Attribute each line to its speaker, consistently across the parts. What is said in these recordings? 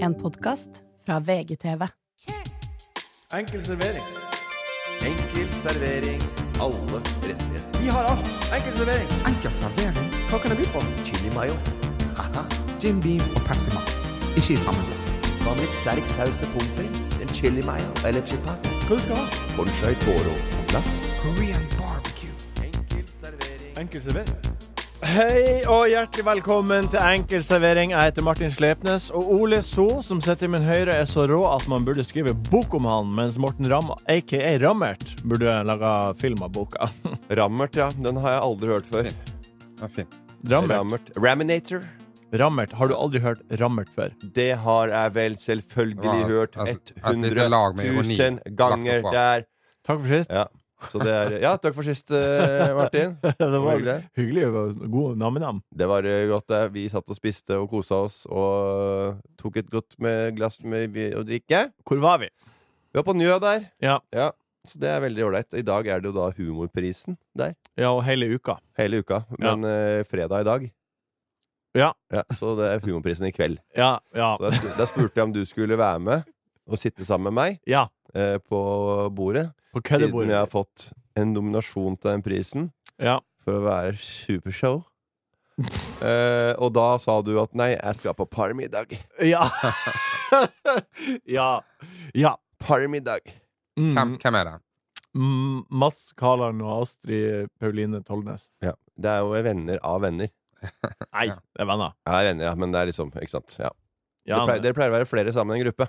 Speaker 1: En podkast fra VGTV.
Speaker 2: Enkel servering.
Speaker 3: Enkel servering. Alle rettigheter.
Speaker 2: Vi har alt. Enkel servering.
Speaker 4: Enkel servering,
Speaker 2: Hva kan jeg by på?
Speaker 3: Chili mayo. Haha.
Speaker 4: Jim Beam og Pepsi Max. Ikke i samme glass.
Speaker 3: Hva med litt sterk saus til pommes frites? En chili mayo eller chipat?
Speaker 2: Hva du skal ha?
Speaker 3: Bonchai toro på glass.
Speaker 4: Korean barbecue.
Speaker 3: Enkel servering.
Speaker 2: Enkel servering. Hei og hjertelig velkommen til Enkel servering. Jeg heter Martin Slepnes. Og Ole So, som sitter i min høyre, er så rå at man burde skrive bok om han, mens Morten Ramm, aka Rammert, burde laga film av boka.
Speaker 3: Rammert, ja. Den har jeg aldri hørt før.
Speaker 4: Ja, fint.
Speaker 2: Rammert.
Speaker 3: Rammert. Raminator.
Speaker 2: Rammert. Har du aldri hørt Rammert før?
Speaker 3: Det har jeg vel selvfølgelig
Speaker 4: Hva,
Speaker 3: hørt
Speaker 4: altså, et
Speaker 3: 100
Speaker 4: lite lag med ironi
Speaker 3: 000 ganger
Speaker 4: lagt oppå.
Speaker 3: der.
Speaker 2: Takk for sist.
Speaker 3: Ja. Så det er Ja, takk for sist, eh, Martin.
Speaker 2: det
Speaker 3: var
Speaker 2: var
Speaker 3: hyggelig.
Speaker 2: hyggelig. og God nam-nam.
Speaker 3: Det var eh, godt, det. Vi satt og spiste og kosa oss og eh, tok et godt med glass med vi- å drikke.
Speaker 2: Hvor var vi?
Speaker 3: Vi var på Njø der.
Speaker 2: Ja.
Speaker 3: Så det er veldig ålreit. I dag er det jo da humorprisen der.
Speaker 2: Ja, og hele uka.
Speaker 3: Hele uka.
Speaker 2: Ja.
Speaker 3: Men eh, fredag i dag.
Speaker 2: Ja.
Speaker 3: Så det er humorprisen i kveld.
Speaker 2: Ja. Ja.
Speaker 3: Så da, sp- da spurte jeg om du skulle være med og sitte sammen med meg
Speaker 2: ja.
Speaker 3: eh, på bordet.
Speaker 2: På
Speaker 3: Siden jeg
Speaker 2: køddebordet.
Speaker 3: har fått en nominasjon til den prisen
Speaker 2: Ja.
Speaker 3: for å være supershow. Eh, og da sa du at nei, jeg skal på parmiddag.
Speaker 2: Ja. ja. Ja.
Speaker 3: Parmiddag.
Speaker 2: Mm.
Speaker 4: Hvem, hvem er det?
Speaker 2: Mm, Mads Kaland og Astrid Pauline Tollnes.
Speaker 3: Ja. Det er jo venner av venner.
Speaker 2: Nei,
Speaker 4: Ja.
Speaker 2: det er venner.
Speaker 3: Ja, det er venner, ja, men det er liksom Ikke sant. Ja.
Speaker 2: Ja,
Speaker 3: dere, pleier, dere pleier å være flere sammen i en gruppe.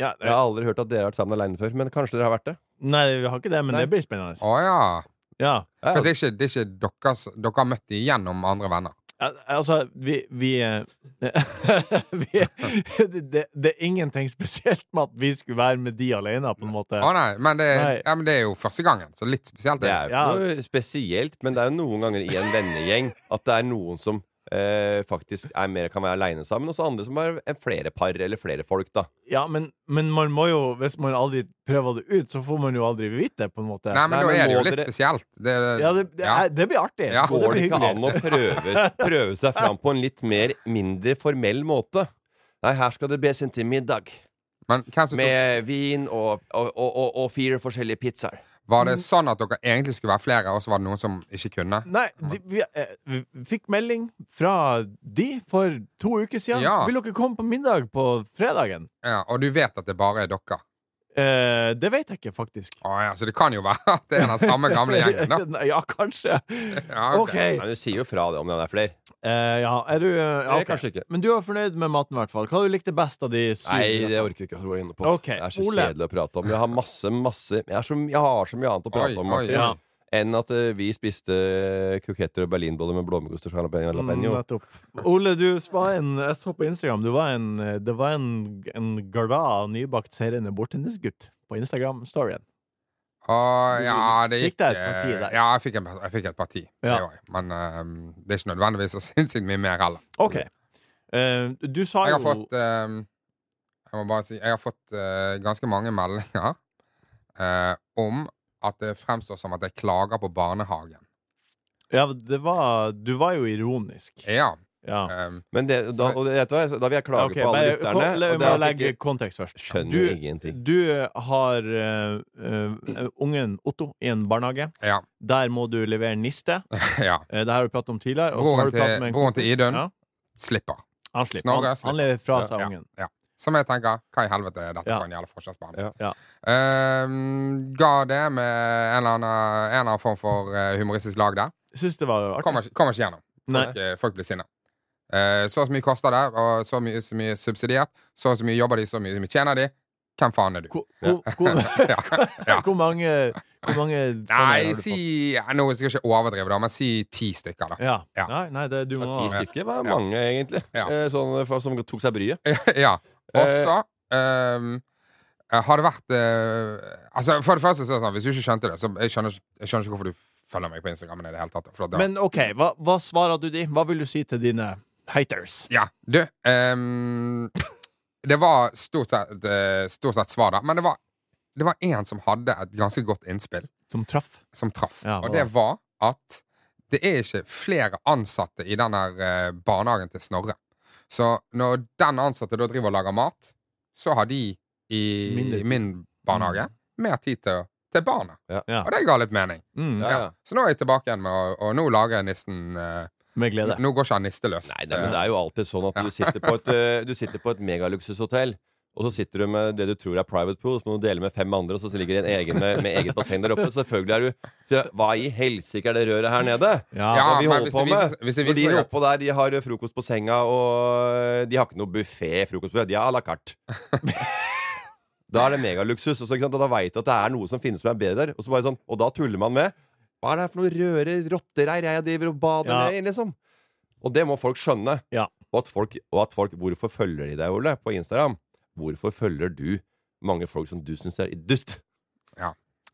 Speaker 2: ja, det-
Speaker 3: Jeg har aldri hørt at dere har vært sammen alene før, men kanskje dere har vært det?
Speaker 2: Nei, vi har ikke det, men
Speaker 3: Nei.
Speaker 2: det blir spennende.
Speaker 4: Å ja.
Speaker 2: Ja.
Speaker 3: Ja,
Speaker 4: For det er ikke, det er ikke deres Dere har møtt dem gjennom andre venner.
Speaker 2: Al- Altså, vi, vi, eh, vi det, det er ingenting spesielt med at vi skulle være med de alene, på en måte.
Speaker 4: Å nei, men det,
Speaker 2: Nei.
Speaker 4: Ja, men det er jo første gangen, så litt spesielt.
Speaker 3: det
Speaker 4: Er.
Speaker 3: er jo
Speaker 2: Ja.
Speaker 3: ikke noe spesielt, men det er jo noen ganger i en vennegjeng at det er noen som eh, faktisk er mer, kan være aleine sammen, og så andre som er flere par eller flere folk, da.
Speaker 2: Ja, men, men man må jo, hvis man aldri prøver det ut, så får man jo aldri vite det, på en måte.
Speaker 4: Nei, men
Speaker 3: Nei,
Speaker 4: da
Speaker 3: men
Speaker 4: er det jo
Speaker 3: må
Speaker 4: litt
Speaker 3: dere-
Speaker 4: spesielt. Det,
Speaker 2: Ja, det, det,
Speaker 4: ja.
Speaker 2: er- det blir artig.
Speaker 4: Ja.
Speaker 2: Og
Speaker 3: Går det
Speaker 2: blir
Speaker 3: ikke
Speaker 2: hyggelig.
Speaker 3: an å prøve, prøve seg fram på en litt mer mindre formell måte? Nei, her skal det bes inn til middag.
Speaker 4: Men hvem som tok,
Speaker 3: Med vin og, og, og, og, og fire forskjellige pizzaer.
Speaker 4: var det sånn at dere egentlig skulle være flere, og så var det noen som ikke kunne?
Speaker 2: Nei, de, vi, eh, vi fikk melding fra de for to uker siden.
Speaker 4: Ja.
Speaker 2: Vil dere komme på middag på fredagen?
Speaker 4: Ja, og du vet at det bare er dere?
Speaker 2: Eh, det vet jeg ikke, faktisk.
Speaker 4: Å ja, så det kan jo være at det er den samme gamle gjengen, da.
Speaker 2: Nei, ja, kanskje.
Speaker 4: Ja,
Speaker 2: OK.
Speaker 4: ok.
Speaker 3: Nei, du sier jo fra det om det er flere.
Speaker 2: Eh, ja, er du eh, ja,
Speaker 3: Eller
Speaker 2: ok.
Speaker 3: kanskje ikke.
Speaker 2: Men du var fornøyd med maten, i hvert fall. Hva du likte best av de syv?
Speaker 3: Nei, det orker vi ikke å gå inn på.
Speaker 2: Ok,
Speaker 3: Det er så
Speaker 2: Ole.
Speaker 3: kjedelig å prate om. Jeg har masse, masse Jeg, er så, jeg har så mye annet å prate
Speaker 4: Oi,
Speaker 3: om
Speaker 4: oi,
Speaker 3: Martin,
Speaker 2: ja.
Speaker 3: enn at eh, vi spiste kuketter og berlinboller med blåmuggost og jalapeño.
Speaker 2: Mm, nettopp. Ole, du var en Jeg så på Instagram. Du var en, eh, det var en, en glad, nybakt seirende bordtennisgutt på Instagram-storyen.
Speaker 4: Å, ja, det
Speaker 2: Fikk
Speaker 4: gikk eh,
Speaker 2: deg et parti der?
Speaker 4: Ja, jeg fikk, en, jeg fikk et parti. det
Speaker 2: Ja.
Speaker 4: gjorde jeg. Men ehm, det er ikke nødvendigvis så sinnssykt mye mer heller.
Speaker 2: OK. Eh, du sa
Speaker 4: Jeg
Speaker 2: jo
Speaker 4: har fått ehm, Jeg må bare si Jeg har fått eh, ganske mange meldinger eh, om at det fremstår som at jeg klager på barnehagen.
Speaker 2: Ja, det var Du var jo ironisk.
Speaker 4: Ja.
Speaker 2: Ja.
Speaker 4: ehm,
Speaker 3: Men det, da, og det, vet du hva, da vil jeg klage
Speaker 2: Ok,
Speaker 3: på alle
Speaker 2: bare-
Speaker 3: lytterne.
Speaker 2: la
Speaker 3: og det
Speaker 2: meg
Speaker 3: er at jeg
Speaker 2: legge
Speaker 3: ikke
Speaker 2: kontekst først.
Speaker 3: skjønner
Speaker 2: Du,
Speaker 3: ingenting.
Speaker 2: du har eh, eh, ungen Otto i en barnehage.
Speaker 4: ja.
Speaker 2: Der må du levere niste.
Speaker 4: ja.
Speaker 2: Eh, det her har vi pratet om tidligere. og så
Speaker 4: Broren
Speaker 2: har du
Speaker 4: til-
Speaker 2: pratet med en
Speaker 4: broren til
Speaker 2: kompis.
Speaker 4: Idun.
Speaker 2: Ja,
Speaker 4: Slipper.
Speaker 2: han slipper.
Speaker 4: Snorre
Speaker 2: Han,
Speaker 4: slipper.
Speaker 2: han lever fra seg
Speaker 4: Ja.
Speaker 2: ungen.
Speaker 4: Som jeg tenker, hva i helvete er dette
Speaker 2: Ja.
Speaker 4: for en jævla forskjellsbehandling?
Speaker 3: Ja.
Speaker 2: Ja.
Speaker 4: Ehm, ga det med en eller annen, en eller annen form for eh, humoristisk lag der.
Speaker 2: Syns det var artig.
Speaker 4: Kommer, ikke- kommer ikke gjennom.
Speaker 2: Nei.
Speaker 4: Folk, eh, folk blir sinna. Eh, så og så mye koster det, og så mye, så mye subsidiert. Så og så mye jobber de, så og så mye tjener de. Hvem faen er du?
Speaker 2: Hvor, hvor, hvor,
Speaker 4: ja. ja.
Speaker 2: hvor mange, hvor mange sånne har
Speaker 4: Nei,
Speaker 2: du fått?
Speaker 4: si ja, Nå skal jeg ikke overdrive, da, men si ti stykker, da.
Speaker 2: ja.
Speaker 4: Ja.
Speaker 2: Nei, nei, det, du må
Speaker 3: Ja, ti stykker var
Speaker 4: Ja.
Speaker 3: mange, egentlig.
Speaker 4: Ja.
Speaker 3: Eh, Sånn, for- som tok seg bryet.
Speaker 4: ja. Og så ehm, har det vært eh, Altså, For det første, så er det sånn, hvis du ikke skjønte det så jeg skjønner, ikke- jeg skjønner ikke hvorfor du følger meg på Instagram. i det hele tatt. For at det,
Speaker 2: Men OK, hva, hva svarer du de? Hva vil du si til dine haters?
Speaker 4: Ja, du ehm, Det var stort sett, eh, stort sett svar, da. Men det var, det var en som hadde et ganske godt innspill,
Speaker 2: Som traff?
Speaker 4: som traff.
Speaker 2: Ja, hva
Speaker 4: og det var at det er ikke flere ansatte i den der eh, barnehagen til Snorre. Så når den ansatte da driver og lager mat, så har de i
Speaker 2: Mindre tid.
Speaker 4: min barnehage
Speaker 3: Mm.
Speaker 4: mer tid til, til barna.
Speaker 2: Ja.
Speaker 4: Og det ga litt mening.
Speaker 2: Mm,
Speaker 3: Ja, ja.
Speaker 4: Så nå er jeg tilbake igjen med å Og nå lager jeg nissen eh,
Speaker 2: Med glede.
Speaker 4: Nå går ikke han nisteløs. Eh,
Speaker 3: Nei, det, men det er jo alltid sånn at du sitter på et, eh, du sitter på et megaluksushotell, og så sitter du med det du tror er private pool, så må du dele med fem andre, og så ligger det en egen med, med eget basseng der oppe. Selvfølgelig er du så, Hva i helsike er det røret her nede?
Speaker 2: Ja,
Speaker 4: Ja,
Speaker 3: Hva vi
Speaker 4: men
Speaker 3: holder
Speaker 4: hvis
Speaker 3: på
Speaker 4: det
Speaker 3: med?
Speaker 4: viser- hvis det
Speaker 3: For de
Speaker 4: viser seg at-
Speaker 3: oppå der, de har frokost på senga, og de har ikke noe buffé frokost på senga. De har à la carte. Da er det megaluksus. Og, så, ikke sant? og da veit du at det er noe som finnes som er bedre der. Og, så bare sånn, og da tuller man med. Hva er det her for noe røre rottereir jeg driver og bader
Speaker 2: Ja.
Speaker 3: ned i, liksom? Og det må folk skjønne.
Speaker 2: Ja.
Speaker 3: Og, at folk, og at folk Hvorfor følger de deg, Ole, på Instagram? Hvorfor følger du mange folk som du syns er dust?
Speaker 2: ja.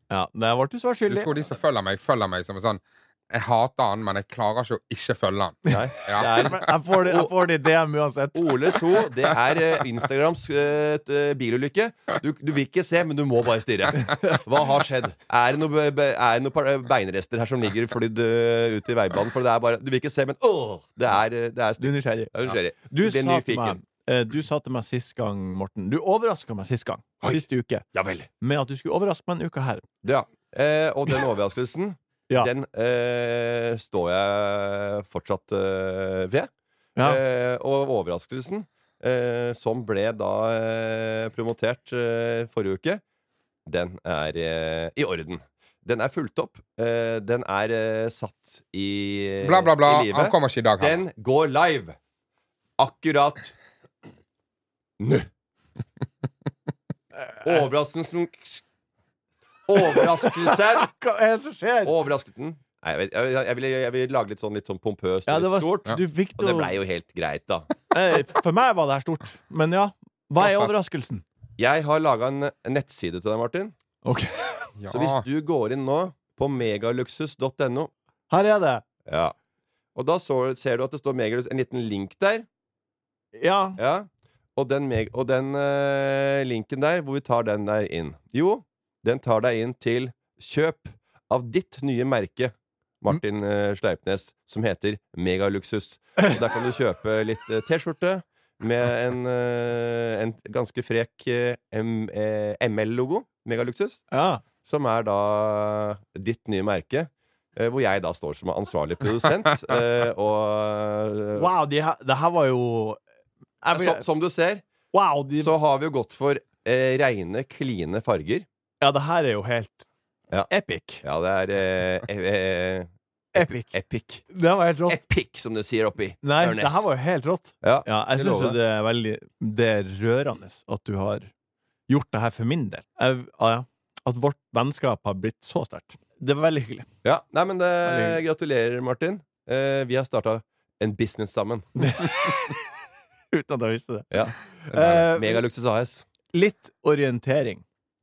Speaker 2: Der ble du svar
Speaker 4: Du
Speaker 2: skyldig.
Speaker 4: tror de som følger meg, følger meg som en sånn Jeg hater han, men jeg klarer ikke å ikke følge han.
Speaker 3: Nei.
Speaker 4: Ja.
Speaker 3: Det er
Speaker 2: Jeg får det, jeg får det i DM uansett.
Speaker 3: Ole So, det er eh, Instagrams eh, t- eh, bilulykke. Du, du vil ikke se, men du må bare stirre. Hva har skjedd? Er det noen noe par- eh, beinrester her som ligger flydd eh, ut i veibanen? For det er bare, Du vil ikke se, men åh! Det er, eh, det
Speaker 2: Du
Speaker 3: er stygt.
Speaker 2: er nysgjerrig.
Speaker 3: Ja, nysgjerrig.
Speaker 2: Du
Speaker 3: blir
Speaker 2: sa, til
Speaker 3: nyfiken.
Speaker 2: meg, eh, du sa til meg sist gang, Morten Du overraska meg sist gang,
Speaker 3: Oi.
Speaker 2: sist uke,
Speaker 3: Ja vel.
Speaker 2: med at du skulle overraske meg en uke her.
Speaker 3: Ja. Eh, og den overraskelsen,
Speaker 2: Ja.
Speaker 3: den eh, står jeg fortsatt eh, ved.
Speaker 2: Ja.
Speaker 3: Eh, og overraskelsen, eh, som ble da eh, promotert eh, forrige uke, den er eh, i orden. Den er fulgt opp. Eh, den er eh, satt i,
Speaker 4: Bla, bla, bla.
Speaker 3: i
Speaker 4: Han
Speaker 3: livet.
Speaker 4: kommer ikke i dag, han.
Speaker 3: Den går live akkurat nå. Overraskelsen Overraskelsen
Speaker 2: Hva er det som skjer?
Speaker 3: Overraskelsen Nei, jeg, vet, jeg, jeg, ville, jeg ville lage litt sånn, litt sånn pompøst
Speaker 2: Ja,
Speaker 3: og
Speaker 2: det
Speaker 3: litt
Speaker 2: var
Speaker 3: stort.
Speaker 2: Du fikk
Speaker 3: Og
Speaker 2: det
Speaker 3: det
Speaker 2: jo
Speaker 3: blei jo helt greit, da.
Speaker 2: Eh, For meg var det her stort. Men ja. Hva er overraskelsen?
Speaker 3: Jeg har laga en en nettside til deg, Martin.
Speaker 2: Ok,
Speaker 4: Ja.
Speaker 3: Så hvis du går inn nå på megaluksus.no
Speaker 2: Her er det.
Speaker 3: ja. Og da så, ser du at det står megaluksus, en liten link der.
Speaker 2: Ja.
Speaker 3: Ja. Og den, meg, og den eh, linken der, hvor tar den deg inn? Jo, den tar deg inn til kjøp av ditt nye merke, Martin eh, Sleipnes, som heter Megaluksus. Og der kan du kjøpe litt eh, T-skjorte med en, eh, en ganske frek eh, M- eh, ML-logo, Megaluksus,
Speaker 2: ja.
Speaker 3: som er da ditt nye merke. eh, Hvor jeg da står som ansvarlig produsent. eh, og
Speaker 2: Wow, de her, det her var jo jeg,
Speaker 3: så,
Speaker 2: vil-
Speaker 3: Som du ser,
Speaker 2: Wow, de,
Speaker 3: så har vi jo gått for eh, reine, kline farger.
Speaker 2: ja, det her er jo helt
Speaker 3: Ja.
Speaker 2: epic.
Speaker 3: Ja, det er eh, eh, eh,
Speaker 2: Epic.
Speaker 3: epic.
Speaker 2: Det var helt rått.
Speaker 3: Epic, som de sier oppi
Speaker 2: Nei,
Speaker 3: Ørnes.
Speaker 2: det her var jo helt rått.
Speaker 3: ja.
Speaker 2: Ja, jeg
Speaker 3: Det
Speaker 2: syns jo
Speaker 3: lover jeg.
Speaker 2: det er veldig Det er rørende at du har gjort det her for min del. Jeg, ah, ja. At vårt vennskap har blitt så sterkt. Det var veldig hyggelig.
Speaker 3: ja. Nei, men det,
Speaker 2: Veldig
Speaker 3: gratulerer, Martin. Eh, vi har starta en business sammen.
Speaker 2: Uten at jeg visste det.
Speaker 3: Ja.
Speaker 4: Der.
Speaker 2: Eh,
Speaker 3: Megaluksus AS.
Speaker 2: litt orientering.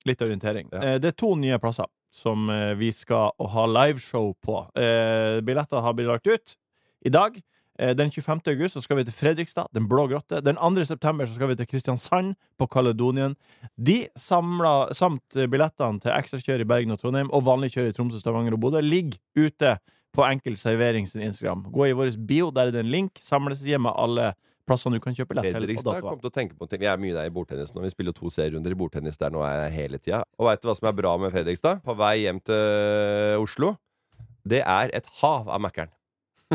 Speaker 2: Litt orientering.
Speaker 3: Ja.
Speaker 2: Eh, det er to nye plasser som eh, vi skal ha liveshow på. Eh, billetter har blitt lagt ut i dag. Eh, Den 25. august så skal vi til Fredrikstad, Den blå grotte. Den 2. september så skal vi til Kristiansand, på Kaledonien. De samla, samt eh, billettene til ekstrakjør i Bergen og Trondheim og vanlig kjør i Tromsø, Stavanger og Bodø ligger ute på Enkel Servering sin Instagram. Gå i vår bio, der er det en link. Samles hjemme alle plassene du kan kjøpe billett til. og
Speaker 3: Fredrikstad
Speaker 2: datoer.
Speaker 3: kom til å tenke på en ting. Vi er mye der i bordtennis nå. Vi spiller jo to serierunder i bordtennis der nå er jeg hele tida. Og veit du hva som er bra med Fredrikstad? På vei hjem til Oslo. Det er et hav av Mækkern.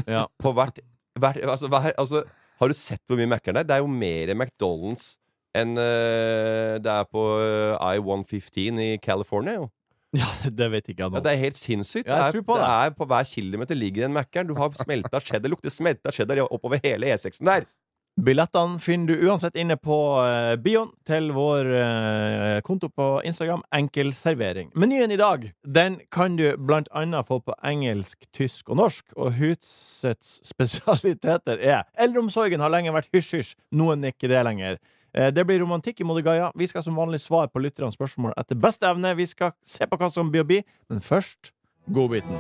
Speaker 2: Ja.
Speaker 3: På hvert, hver, altså, hver, altså, Har du sett hvor mye Mækkern det er? Det er jo mer McDonald's enn eh, det er på eh, I-115 i California. Jo.
Speaker 2: Ja, det- det vet ikke jeg nå.
Speaker 3: Ja, det er helt sinnssykt.
Speaker 2: Ja, jeg
Speaker 3: det, er,
Speaker 2: tror på
Speaker 3: det.
Speaker 2: det.
Speaker 3: er på hver kilometer ligger det en Mækkern. Du har smelta cheddar. Det lukter smelta cheddar oppover hele E6-en der.
Speaker 2: Billettene finner du uansett inne på eh, bioen til vår eh, konto på Instagram, Enkel servering. Menyen i dag den kan du blant annet få på engelsk, tysk og norsk, og husets spesialiteter er Eldreomsorgen har lenge vært hysj-hysj, noen er ikke det lenger. Eh, Det blir romantikk i Modigaya. Vi skal som vanlig svare på lytternes spørsmål etter beste evne. Vi skal se på hva som blir å bli, men først godbiten.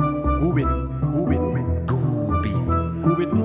Speaker 2: Godbiten. Godbiten. Godbiten.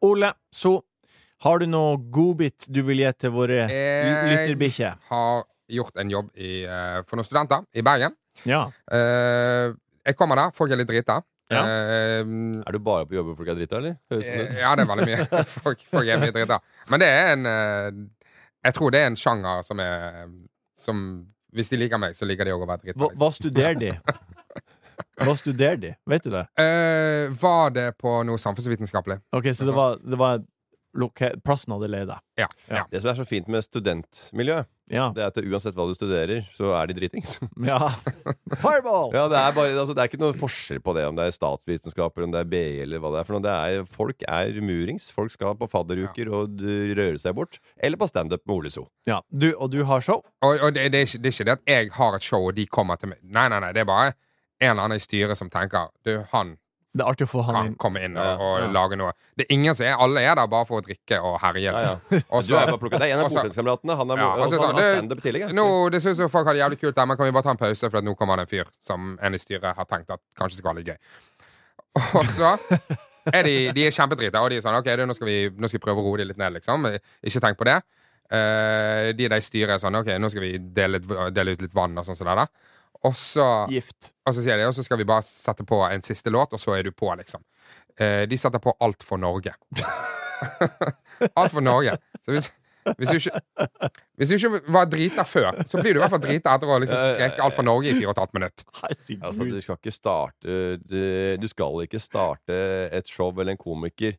Speaker 2: Ole, så har du noe godbit du vil gi til våre
Speaker 4: Jeg-
Speaker 2: lytterbikkjer?
Speaker 4: Har gjort en jobb i, eh, for noen studenter i Bergen.
Speaker 2: Ja.
Speaker 4: Eh, jeg kommer der, folk er litt drita.
Speaker 2: Ja.
Speaker 4: Eh,
Speaker 3: Er du bare på jobb hvor folk er drita, eller? Høres det ut.
Speaker 4: eh, ja, det er veldig mye. Folk, folk er mye drita. Men det er en eh, Jeg tror det er en sjanger som er Som Hvis de liker meg, så liker de òg å være drita.
Speaker 2: Hva,
Speaker 4: Liksom.
Speaker 2: hva studerer de? Hva studerer de? Vet du det?
Speaker 4: Eh, var det på noe samfunnsvitenskapelig?
Speaker 2: Ok, Så det var, det var loka plassen hadde leid deg?
Speaker 4: Ja.
Speaker 2: Ja.
Speaker 4: ja.
Speaker 3: Det som er så fint med studentmiljøet,
Speaker 2: Ja.
Speaker 3: det er at uansett hva du studerer, så er de dritings.
Speaker 2: ja. Fireball!
Speaker 3: Ja, det er, bare, altså, det er ikke noe forskjell på det, om det er statsvitenskap eller om det er BI eller hva det er for noe. Det er, folk er murings. Folk skal på fadderuker og d- røre seg bort. Eller på standup med Ole So.
Speaker 2: Ja. Du, og du har show?
Speaker 4: Og, og det, det, er ikke, det er ikke det at jeg har et show, og de kommer til meg. Nei, nei, nei, det er bare en eller annen i styret som tenker Du, han
Speaker 2: Det er artig å få han
Speaker 4: kan
Speaker 2: inn.
Speaker 4: komme inn og,
Speaker 3: Ja,
Speaker 4: og
Speaker 2: ja.
Speaker 4: lage noe. Det er ingen som er Alle er der bare for å drikke og herje.
Speaker 3: Ja, ja.
Speaker 4: liksom. Og
Speaker 3: Du er
Speaker 4: så-
Speaker 3: bare plukket. Det er en av
Speaker 4: og så-
Speaker 3: bordtenniskameratene. Han er
Speaker 4: Ja,
Speaker 3: ja,
Speaker 4: og så sa
Speaker 3: han
Speaker 4: han,
Speaker 3: har
Speaker 4: «Du,
Speaker 3: standup i tillegg. ja.
Speaker 4: Nå, det synes jo folk har det jævlig kult der, men kan vi bare ta en pause, for at nå kommer det en fyr som en i styret har tenkt at kanskje skal være litt gøy. Og så er de, de er kjempedrita, og de er sånn OK, du, nå, skal vi, nå skal vi prøve å roe de litt ned, liksom. Ikke tenk på det. Eh, de der i styret er sånn OK, nå skal vi dele, ut- dele ut litt vann og sånn som det der. Og så,
Speaker 2: Gift.
Speaker 4: og så sier de, og så skal vi bare sette på en siste låt, og så er du på, liksom. Eh, de setter på Alt for Norge. Alt for Norge. Så hvis, hvis, du ikke, hvis du ikke var drita før, så blir du i hvert fall drita etter å ha liksom skreket Alt for Norge i fire og et halvt minutt.
Speaker 3: Ja, for du
Speaker 2: Herregud.
Speaker 3: skal ikke starte det- Du skal ikke starte et show eller en komiker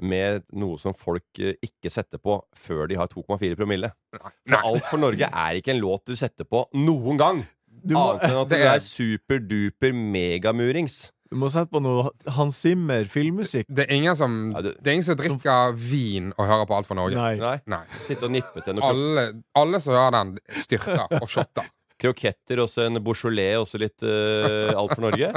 Speaker 3: med noe som folk eh, ikke setter på før de har 2,4 promille. For
Speaker 4: Nei.
Speaker 3: Alt for Norge er ikke en låt du setter på noen gang!
Speaker 2: Du må,
Speaker 3: Annet enn at
Speaker 4: det
Speaker 3: du
Speaker 4: er-
Speaker 3: er superduper megamurings.
Speaker 2: du må sette på noe Hans Zimmer filmmusikk.
Speaker 4: Det er ingen som,
Speaker 3: Ja, du-
Speaker 4: det er ingen som drikker vin og hører på Alt for Norge.
Speaker 2: Nei.
Speaker 3: Nei.
Speaker 4: Nei.
Speaker 3: Sitte og nippe til noen
Speaker 4: Alle, alle som hører den, styrter og shotter.
Speaker 3: kroketter og så en Beaujolais og så litt eh, Alt for Norge.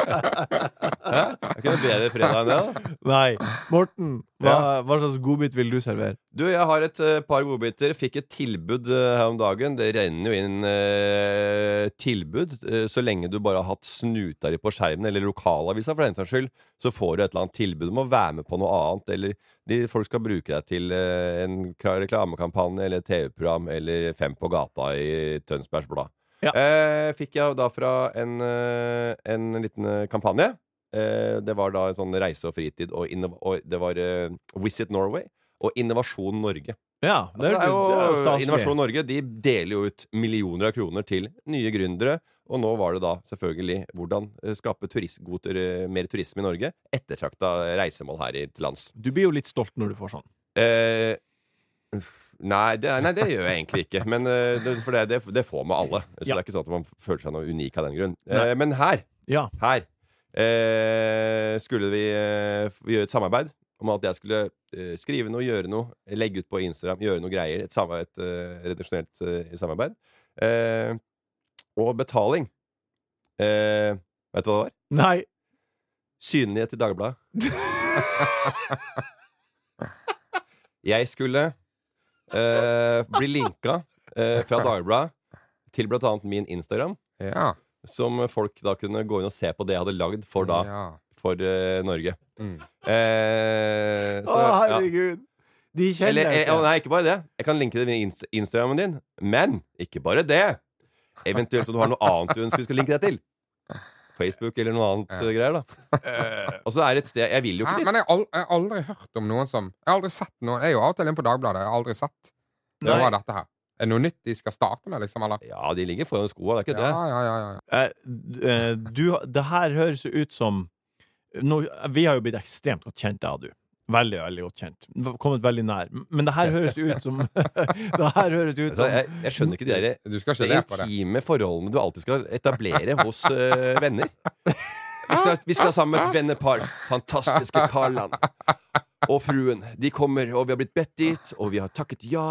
Speaker 3: Hæ? Er ikke det bedre fredag enn det, da?
Speaker 2: Nei. Morten, hva, hva slags godbit vil du servere?
Speaker 3: Du, jeg har et eh, par godbiter. Fikk et tilbud eh, her om dagen. Det renner jo inn eh, tilbud. eh, så lenge du bare har hatt snuta di på skjermen, eller lokalavisa for den saks skyld, så får du et eller annet tilbud om å være med på noe annet. Eller de, folk skal bruke deg til eh, en ka- reklamekampanje eller et TV-program eller Fem på gata i Tønsbergs Blad.
Speaker 2: Ja.
Speaker 3: Eh, fikk jeg da fra en, eh, en liten eh, kampanje. Eh, det var da en sånn reise og fritid, og, innov- og det var eh, Visit Norway og Innovasjon Norge.
Speaker 2: Ja, det
Speaker 3: Altså,
Speaker 2: er,
Speaker 3: det er jo,
Speaker 2: staselig.
Speaker 3: Innovasjon Norge de deler jo ut millioner av kroner til nye gründere. Og nå var det da selvfølgelig hvordan eh, skape turist, god, tur- mer turisme i Norge. Ettertrakta reisemål her i til lands.
Speaker 2: Du blir jo litt stolt når du får sånn.
Speaker 3: Eh, uff, nei, det, nei, det gjør jeg egentlig ikke. Men, eh, det, for det, det, det får med alle. Så
Speaker 2: Ja.
Speaker 3: det er ikke sånn at man føler seg noe unik av den grunn.
Speaker 2: Nei.
Speaker 3: Eh, men her
Speaker 2: Ja.
Speaker 3: her eh, skulle vi eh, f- gjøre et samarbeid om at jeg skulle eh, skrive noe, gjøre noe, legge ut på Instagram, gjøre noe greier. Et, samarbeid, et eh, redaksjonelt eh, samarbeid. Eh, og betaling. Eh, vet du hva det var?
Speaker 2: Nei.
Speaker 3: Synlighet i Dagbladet. Jeg skulle eh, bli linka eh, fra Dagbladet til blant annet min Instagram,
Speaker 4: Ja.
Speaker 3: som folk da kunne gå inn og se på det jeg hadde lagd for da
Speaker 4: ja.
Speaker 3: for eh, Norge.
Speaker 4: Mm.
Speaker 2: Å,
Speaker 3: Eh, så, ja.
Speaker 2: herregud. De kjenner
Speaker 3: Eller,
Speaker 2: jeg
Speaker 3: eh, å,
Speaker 2: ikke.
Speaker 3: nei, ikke bare det. Jeg kan linke til min inst Instagrammen din. Men ikke bare det! Eventuelt om du har noe annet du ønsker vi skal linke deg til. Facebook eller noe annet eh, greier, da. Eh, og så er det et sted Jeg vil jo
Speaker 4: Hæ,
Speaker 3: ikke
Speaker 4: men
Speaker 3: dit.
Speaker 4: jeg har al- jeg har aldri hørt om noen som Jeg har aldri sett noen Jeg er jo av og til inne på Dagbladet. Jeg har aldri sett
Speaker 2: Nei.
Speaker 4: noe av dette her. Er det noe nytt de skal starte med, liksom? Eller?
Speaker 3: Ja, de ligger foran skoa, det er ikke
Speaker 4: Ja, ja, ja, ja.
Speaker 2: Eh, d- eh, du, det her høres jo ut som nå, Vi har jo blitt ekstremt godt kjent, jeg og du. Veldig, veldig godt kjent. Kommet veldig nær. Men det her høres jo ut som Det her høres jo
Speaker 3: det.
Speaker 2: ut
Speaker 3: Altså,
Speaker 2: som
Speaker 3: jeg, jeg skjønner ikke de der
Speaker 4: Du skal ikke
Speaker 3: det
Speaker 4: le på det.
Speaker 3: intime forholdene du alltid skal etablere hos eh, venner. Vi skal, vi skal sammen med et vennepar. Fantastiske Karlan og fruen. De kommer, og vi har blitt bedt dit, og vi har takket ja.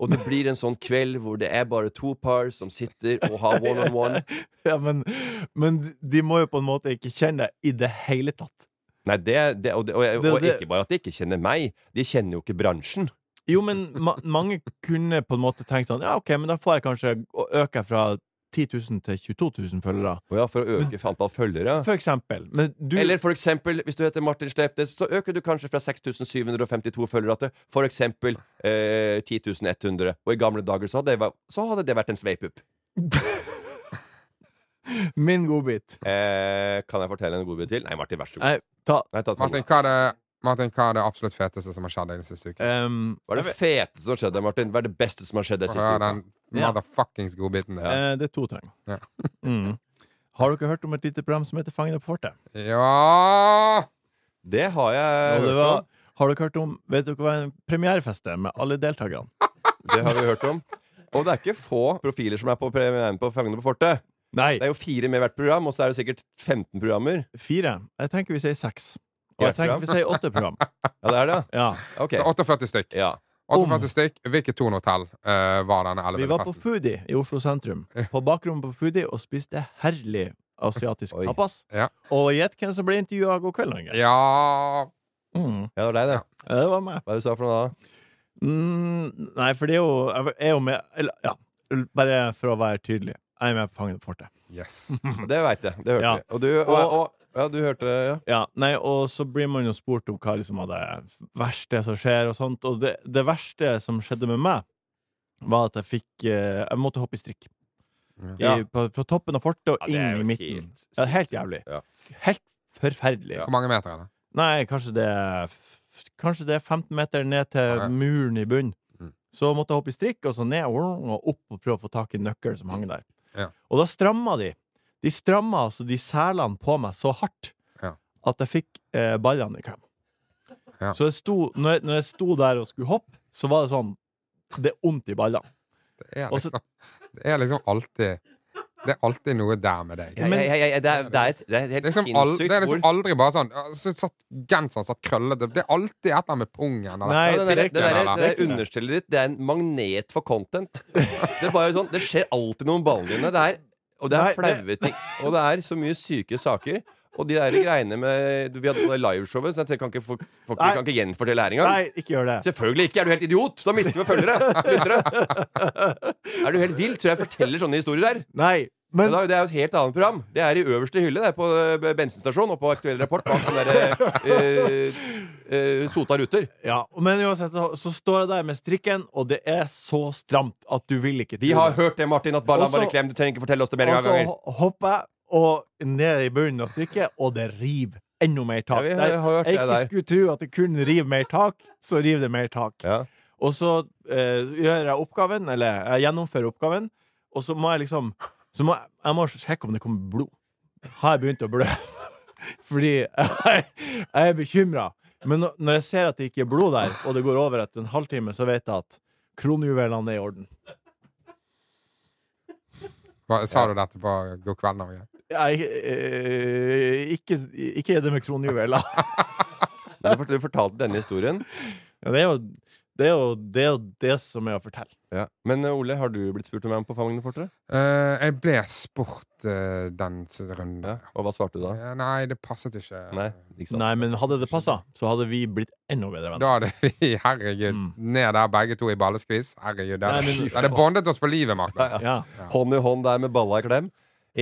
Speaker 3: Og det blir en sånn kveld hvor det er bare to par som sitter og har one on one.
Speaker 2: Ja, men, men de må jo på en måte ikke kjenne deg i det hele tatt.
Speaker 3: Nei, det, det, og, det, og, jeg-
Speaker 2: Det-
Speaker 3: og
Speaker 2: det-
Speaker 3: ikke bare at de ikke kjenner meg, de kjenner jo ikke bransjen.
Speaker 2: Jo, men ma mange kunne på en måte tenkt sånn Ja, ok, men da får jeg kanskje å- øke fra 10 000 til 22 000 følgere,
Speaker 3: Og ja, for å øke antall følgere.
Speaker 2: for eksempel. Men du
Speaker 3: Eller for eksempel, hvis du heter Martin Slepnes, så øker du kanskje fra 6752 følgere til for eksempel eh, 10100. Og i gamle dager så hadde det, vært- så hadde det vært en sveipup.
Speaker 2: Min godbit.
Speaker 3: Eh, kan jeg fortelle en godbit til? Nei, Martin, vær så god.
Speaker 2: Nei, ta
Speaker 3: Nei, ta, ta,
Speaker 4: Martin, hva er det, Martin, hva er det absolutt feteste som har skjedd deg den siste uken?
Speaker 2: ehm,
Speaker 3: Hva er det fete som skjedde, Martin? Hva er det beste som har skjedd deg
Speaker 4: Få
Speaker 3: siste
Speaker 4: høre
Speaker 3: uka?
Speaker 4: den
Speaker 2: Ja.
Speaker 4: motherfuckings godbiten der.
Speaker 2: eh, Det er to ting.
Speaker 4: Ja.
Speaker 2: Mm. Har dere hørt om et lite program som heter Fangene på fortet?
Speaker 4: Ja!
Speaker 3: Det har jeg
Speaker 2: Og det
Speaker 3: hørt
Speaker 2: var,
Speaker 3: om.
Speaker 2: har dere hørt om Vet dere hva en premierefest er, med alle deltakerne?
Speaker 3: Det har vi hørt om. Og det er ikke få profiler som er på premieren på Fangene på fortet.
Speaker 2: Nei,
Speaker 3: Det er jo fire med hvert program, og så er det sikkert 15 programmer.
Speaker 2: fire. Jeg tenker vi sier seks. Og
Speaker 3: Hvert
Speaker 2: jeg tenker vi sier åtte program.
Speaker 3: Ja, det er det. ja.
Speaker 2: Ja.
Speaker 3: Ok.
Speaker 4: Så 48 stykk.
Speaker 2: Eh,
Speaker 3: Ja.
Speaker 4: 48 stykk. Hvilket tonehotell eh, var denne
Speaker 2: Vi var på
Speaker 4: elleville-festen?
Speaker 2: Foodie i Oslo sentrum. På bakrommet på Foodie og spiste herlig asiatisk
Speaker 3: Oi.
Speaker 2: tapas.
Speaker 4: Ja.
Speaker 2: Og gjett hvem som ble intervjua av God kveld, Norge.
Speaker 4: Ja
Speaker 2: Mm.
Speaker 3: ja, det var deg, det.
Speaker 2: Det var meg.
Speaker 3: Hva er det du sa for noe da?
Speaker 2: Mm, nei, for det er jo Jeg er jo med Eller, ja. Bare for å være tydelig. Jeg er med på Fangen på fortet.
Speaker 4: Yes.
Speaker 3: Det veit jeg. Det hørte
Speaker 2: Ja.
Speaker 3: jeg. Og du, og, og, ja, du hørte ja.
Speaker 2: Ja, nei, og så blir man jo spurt om hva liksom av det verste som skjer og sånt, og det, det verste som skjedde med meg, var at jeg fikk eh, Jeg måtte hoppe i strikk.
Speaker 3: Ja.
Speaker 2: I, på, fra toppen av fortet og
Speaker 3: Ja, det er
Speaker 2: inn i
Speaker 3: jo
Speaker 2: midten.
Speaker 3: helt
Speaker 2: ja, helt jævlig.
Speaker 3: Ja.
Speaker 2: Helt forferdelig.
Speaker 4: Hvor mange meter er det?
Speaker 2: Nei, kanskje det er f- Kanskje det er 15 meter ned til
Speaker 4: Ja.
Speaker 2: muren i bunnen.
Speaker 4: Mm.
Speaker 2: Så måtte jeg hoppe i strikk, og så ned og opp og prøve å få tak i nøkkelen som hang der.
Speaker 4: Ja.
Speaker 2: Og da stramma de. De stramma altså de selene på meg så hardt
Speaker 4: Ja.
Speaker 2: at jeg fikk eh, ballene i klem.
Speaker 4: Ja.
Speaker 2: Så jeg sto, når, jeg, når jeg sto der og skulle hoppe, så var det sånn Det er vondt i ballene.
Speaker 4: Det er
Speaker 2: Og så-
Speaker 4: liksom, det er liksom alltid Det er alltid noe der med deg.
Speaker 3: Ja, ja, ja, ja, det, er, det, er et, det er et helt
Speaker 4: Det er, liksom al-
Speaker 3: sinnssykt
Speaker 4: det er liksom
Speaker 3: ord.
Speaker 4: aldri bare sånn ja, så satt Genseren satt krøllete. Det er alltid et eller annet med pungen. Eller.
Speaker 2: Nei,
Speaker 3: Ja, den der,
Speaker 2: det er
Speaker 3: den
Speaker 2: ikke-
Speaker 3: der,
Speaker 4: eller-
Speaker 3: det der understellet ditt Det er en magnet for content. Det er bare sånn, det skjer alltid noe med ballene dine. Det er, og det er
Speaker 2: Nei, det-
Speaker 3: flaue ting. Og det er så mye syke saker. Og de der greiene med Vi hadde det liveshowet, så jeg kan ikke, for, for,
Speaker 2: Nei.
Speaker 3: kan ikke gjenfortelle her engang.
Speaker 2: Nei, ikke gjør det.
Speaker 3: Selvfølgelig ikke! Er du helt idiot? Da mister vi følgere! Lyttere! Er du helt vill? Tror jeg forteller sånne historier her.
Speaker 2: Nei. Men
Speaker 3: Men da, det er jo et helt annet program. Det er i øverste hylle det er på eh, bensinstasjon og på Aktuell Rapport bak sånne der, eh, eh, sota ruter.
Speaker 2: Ja, men uansett så, så står jeg der med strikken, og det er så stramt at du vil ikke
Speaker 3: Vi
Speaker 2: tro
Speaker 3: har
Speaker 2: det.
Speaker 3: hørt det, Martin, at balla
Speaker 2: Også-
Speaker 3: bare klem. Du trenger ikke fortelle oss det mer
Speaker 2: Og så
Speaker 3: ganger.
Speaker 2: ho- hopper jeg og ned i bunnen av strikket, og det river enda mer tak.
Speaker 3: Ja, vi har-
Speaker 2: Der
Speaker 3: har hørt
Speaker 2: jeg
Speaker 3: det
Speaker 2: ikke
Speaker 3: der.
Speaker 2: skulle tro at det kunne rive mer tak, så river det mer tak.
Speaker 3: Ja.
Speaker 2: Og så eh, gjør jeg oppgaven, eller jeg gjennomfører oppgaven, og så må jeg liksom så må jeg, jeg må sjekke om det kommer blod. Har jeg begynt å blø? Fordi jeg, jeg er bekymra. Men nå- når jeg ser at det ikke er blod der, og det går over etter en halvtime, så vet jeg at kronjuvelene er i orden.
Speaker 4: Hva, sa du dette på God kveld, Norge?
Speaker 2: Jeg, eh, ikke, ikke er det med kronjuveler.
Speaker 3: Men du fort- du fortalte denne historien.
Speaker 2: Ja, det, er jo, det, er jo, det er jo det som er å fortelle.
Speaker 3: Ja. Men eh, Ole, har du blitt spurt om jeg er med på Fangene fortere?
Speaker 4: Eh, jeg ble spurt eh, den s- runden.
Speaker 3: Ja. Og hva svarte du da?
Speaker 4: Eh, Nei, det passet ikke.
Speaker 3: Nei, ikke sant?
Speaker 2: Nei, men hadde det passa, så hadde vi blitt enda bedre venner.
Speaker 4: Da hadde vi, herregud, ned der begge to i balleskvis. Herregud, det
Speaker 2: Mm. Nei, men-
Speaker 4: det hadde bondet oss på livet, Martin.
Speaker 2: Ja.
Speaker 3: Hånd i hånd der med balla i klem.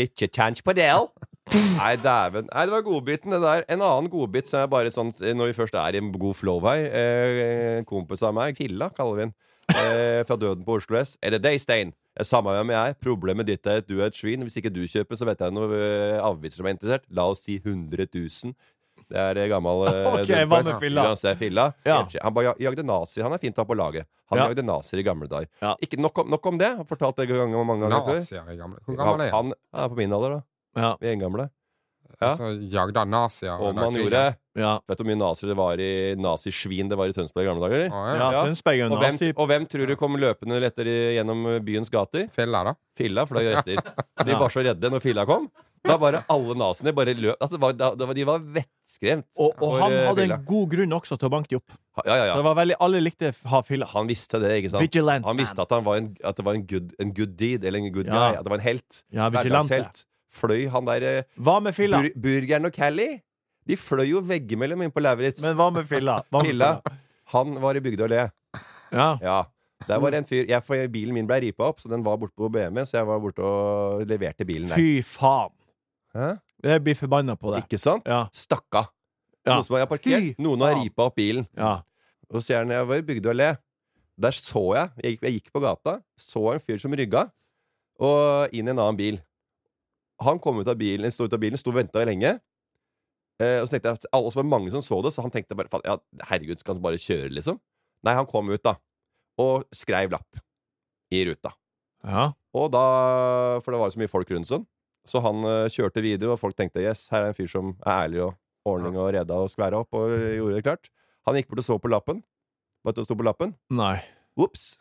Speaker 3: Ikke kjangs på det! all. Nei, dæven. Nei, det var godbiten, det der. En annen godbit som er bare sånn eh, Når vi først er i en god flow her eh, En kompis av meg, Killa, kaller vi han, eh, fra Døden på Oslo S. Er det deg, Stein? Jeg er Samme hvem jeg er. Problemet ditt er at du er et svin. Hvis ikke du kjøper, så vet jeg noe eh, avviser som er interessert. La oss si 100 000. Det er eh, gammel eh,
Speaker 2: Ok, hva med filla?
Speaker 3: Ja, så er filla.
Speaker 2: Ja.
Speaker 3: Han bare jag- jagde nazier. Han er fint å ha på laget. Han
Speaker 2: Ja.
Speaker 3: jagde nazier i gamle dager.
Speaker 2: Ja.
Speaker 3: Ikke, nok, om, nok om det. Jeg har fortalt det ganger, mange ganger før.
Speaker 4: Nazier i gamle Hvor gammel er jeg?
Speaker 3: Han, han er på min alder, da.
Speaker 2: Ja.
Speaker 3: Vi er engamle. ja.
Speaker 4: Så jagde han nazier.
Speaker 3: Og
Speaker 4: under
Speaker 3: man
Speaker 4: krigen.
Speaker 3: gjorde
Speaker 2: Ja.
Speaker 3: Vet du hvor mye nazier det var i nazisvin det var i Tønsberg i gamle dager? eller?
Speaker 4: Å, ja.
Speaker 2: Ja, Tønsberg er
Speaker 3: Og,
Speaker 2: jo
Speaker 3: hvem,
Speaker 2: nazi.
Speaker 3: og hvem tror du kom løpende etter i- gjennom byens gater?
Speaker 4: Filla, da.
Speaker 3: Filla fløy etter. De var så redde når filla kom. Da bare alle naziene bare løp altså, det var, da, det var, De var vettskremt.
Speaker 2: Og, og
Speaker 3: for,
Speaker 2: han
Speaker 3: eh,
Speaker 2: hadde
Speaker 3: fylla.
Speaker 2: en god grunn også til å banke de opp.
Speaker 3: Ha- Ja, ja,
Speaker 2: Så det
Speaker 3: ja.
Speaker 2: var veldig, Alle likte ha fylla.
Speaker 3: Han visste det, ikke sant?
Speaker 2: Vigilant
Speaker 3: han visste
Speaker 2: man.
Speaker 3: at, han var en, at det var en good, en good deed, eller en good
Speaker 2: Ja.
Speaker 3: guy. At det var en helt.
Speaker 2: Ja, vigilante.
Speaker 3: Hverdagshelt. Fløy han der eh,
Speaker 2: Hva med fylla?
Speaker 3: bur Burgeren og Cally? De fløy jo veggimellom inn på Lauritz.
Speaker 2: Men hva med fylla? Hva med
Speaker 3: Pilla, han var i Bygdøy le.
Speaker 2: Ja.
Speaker 3: Ja. Der var det en fyr jeg, for Bilen min ble ripa opp, så den var borte på BM, så jeg var borte og leverte bilen der.
Speaker 2: Fy faen.
Speaker 3: Hæ?
Speaker 2: Jeg blir forbanna på det.
Speaker 3: Ikke sant?
Speaker 2: Ja.
Speaker 3: Stakka.
Speaker 2: Ja.
Speaker 3: Noen som har parkert.
Speaker 2: Fy
Speaker 3: Noen har
Speaker 2: faen.
Speaker 3: ripa opp bilen.
Speaker 2: ja.
Speaker 3: Og så gjerne jeg var i Bygdøy le. Der så jeg, jeg gikk, jeg gikk på gata, så en fyr som rygga, og inn i en annen bil. Han kom ut av bilen, sto ut av bilen, sto og venta lenge. Eh, og så tenkte jeg at alle, og så var det mange som så det, så han tenkte bare "Faen, ja, herregud, skal han bare kjøre, liksom? Nei, han kom ut, da. Og skreiv lapp i ruta.
Speaker 2: ja.
Speaker 3: Og da, For det var jo så mye folk rundt sånn. Så han eh, kjørte videre, og folk tenkte yes, her er en fyr som er ærlig og ordning og reda og skværa opp. Og gjorde det klart. Han gikk bort og så på lappen. Vet du hva det sto på lappen?
Speaker 2: Nei.
Speaker 3: Ops!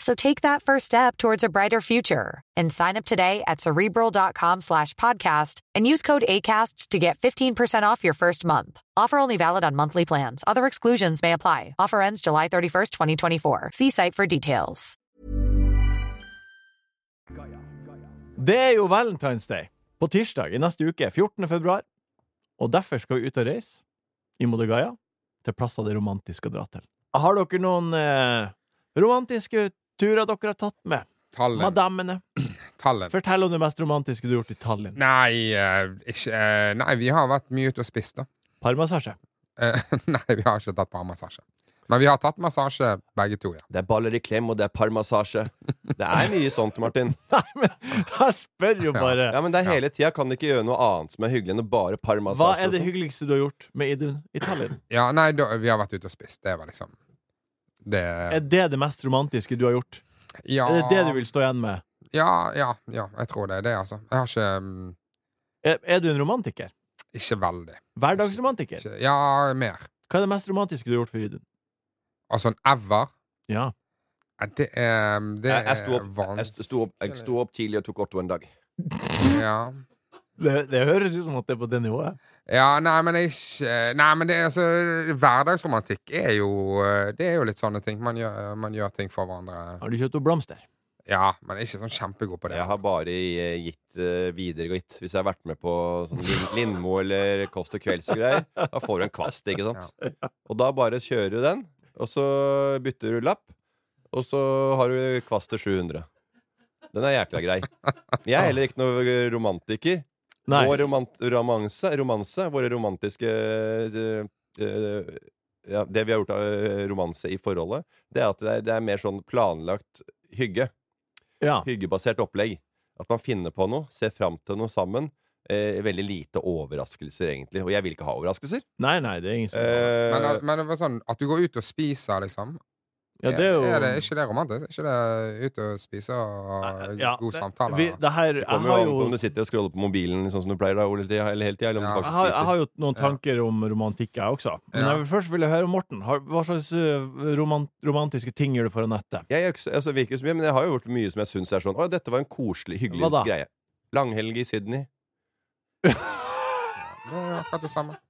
Speaker 5: So take that first step towards a brighter future and sign up today at cerebral.com slash podcast and use code ACAST to get 15% off your first month. Offer only valid on monthly plans. Other exclusions may apply. Offer ends July 31st, 2024. See site for details.
Speaker 2: Det er jo Valentine's Day på tirsdag i neste uke, 14. februar. Og derfor skal vi ut og reise i Modegaia, til plasser det er romantisk å dra til. Har dere noen eh, romantiske turer dere har tatt med?
Speaker 4: Tallinn.
Speaker 2: Madammene.
Speaker 4: Tallinn.
Speaker 2: Fortell om det mest romantiske du har gjort i Tallinn.
Speaker 4: Nei, eh, ikke, eh, nei, vi har vært mye ute og spist, da.
Speaker 2: Parmassasje.
Speaker 4: Eh, nei, vi har ikke tatt barmassasje. Men vi har tatt massasje, begge to, ja.
Speaker 3: Det er baller i klem, og det er parmassasje. Det er mye sånt, Martin.
Speaker 2: Nei, men jeg spør jo bare.
Speaker 3: Ja, men det er hele tida kan du ikke gjøre noe annet som er hyggelig enn å bare parmassasje.
Speaker 2: Hva
Speaker 3: og sånn?
Speaker 2: er det
Speaker 3: sånt.
Speaker 2: hyggeligste du har gjort med Idun i Tallinn?
Speaker 4: ja nei, da, vi har vært ute og spist. Det var liksom Det
Speaker 2: Er det det mest romantiske du har gjort?
Speaker 4: Ja,
Speaker 2: Er det det du vil stå igjen med?
Speaker 4: ja, ja, ja jeg tror det er det, altså. Jeg har ikke mm,
Speaker 2: Er, er du en romantiker?
Speaker 4: Ikke veldig.
Speaker 2: Hverdagsromantiker?
Speaker 4: Ikke, ja, mer.
Speaker 2: Hva er det mest romantiske du har gjort for Idun?
Speaker 4: Altså en ever
Speaker 2: Ja.
Speaker 4: eh, Det er Det
Speaker 3: Jeg, jeg,
Speaker 4: er
Speaker 3: sto opp, jeg, sto opp, jeg sto opp tidlig og tok Otto en dag.
Speaker 4: Ja.
Speaker 2: Det, det høres ut som at det er på det nivået.
Speaker 4: ja, nei, men jeg ikke Nei, men det er altså Hverdagsromantikk er jo eh, Det er jo litt sånne ting. Man gjør, man gjør ting for hverandre.
Speaker 2: Har du kjøpt noen blomster?
Speaker 4: Ja, men jeg er ikke sånn kjempegod på det.
Speaker 3: Jeg har bare eh, gitt eh, videregitt hvis jeg har vært med på sånn Lin- Lindmo eller Kåss til kvelds og greier. Da får du en kvast, ikke sant? Og da bare kjører du den, og så bytter du lapp, og så har du kvast til 700. Den er jækla grei. Jeg er heller ikke noe romantiker.
Speaker 2: Nei.
Speaker 3: Vår romant romanse, romanse, våre romantiske eh, eh, ja, Det vi har gjort av eh, romanse i forholdet, det er at det er, det er mer sånn planlagt hygge.
Speaker 2: Ja.
Speaker 3: Hyggebasert opplegg. At man finner på noe, ser fram til noe sammen. Eh, veldig lite overraskelser, egentlig. Og jeg vil ikke ha overraskelser.
Speaker 2: Nei, nei, det er ingen som
Speaker 3: Eh,
Speaker 4: Men, men det var sånn at du går ut og spiser, liksom.
Speaker 2: Ja, det Eh, er jo
Speaker 4: ikke det romantisk? Er ikke det ut og spise og
Speaker 2: Ja,
Speaker 4: god
Speaker 2: det-
Speaker 4: samtale?
Speaker 2: Vi, det her, jeg,
Speaker 3: det kommer jo
Speaker 2: har
Speaker 3: an
Speaker 2: jo,
Speaker 3: på om du sitter og scroller på mobilen sånn som du pleier da, hele tida. Eller, hele tiden, eller om
Speaker 4: Ja.
Speaker 3: du
Speaker 2: jeg,
Speaker 3: faktisk
Speaker 2: har, jeg
Speaker 3: spiser.
Speaker 2: har jo noen tanker om romantikk, jeg også. Men
Speaker 4: Ja.
Speaker 2: jeg vil først vil jeg høre om Morten. Har, hva slags eh, romant, romantiske ting gjør du for Anette?
Speaker 3: Jeg gjør ikke så- altså, virker jo så mye, men jeg har jo gjort mye som jeg syns er sånn Å, dette var en koselig, hyggelig
Speaker 2: Hva da?
Speaker 3: greie. Langhelg i Sydney.
Speaker 4: det er akkurat det samme.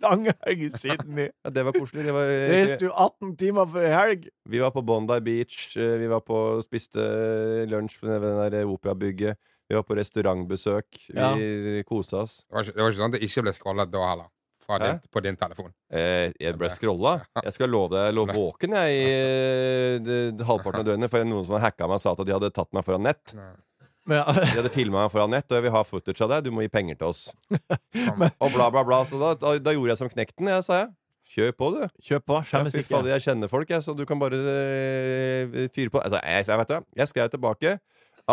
Speaker 2: Langhaug i Sydney.
Speaker 3: Ja, det var koselig. Det var, eh,
Speaker 2: Reiste du 18 timer for ei helg?
Speaker 3: Vi var på Bondi Beach, eh, vi var på, spiste eh, lunsj nede ved det der operabygget. Vi var på restaurantbesøk. Vi kosa oss.
Speaker 4: Det var, ikke, det var ikke sånn at det ikke ble scrollet da heller. Fra din, på din telefon.
Speaker 3: Eh, jeg ble scrolla. Jeg skal love deg, jeg lå våken jeg i eh, det- det halvparten av døgnet, for noen som hacka meg og sa at de hadde tatt meg foran nett.
Speaker 2: Men,
Speaker 3: De hadde filma meg foran nett, og jeg vil ha footage av deg. Du må gi penger til oss. Og bla, bla, bla. Så da, da, da gjorde jeg som Knekten, jeg, sa jeg. Kjør på, du.
Speaker 2: kjøp på.
Speaker 3: Ja,
Speaker 2: Skjemmes
Speaker 3: fy
Speaker 2: ikke.
Speaker 3: fader, jeg kjenner folk, jeg, så du kan bare eh, fyre på. Altså, jeg, jeg vet det. Jeg skrev tilbake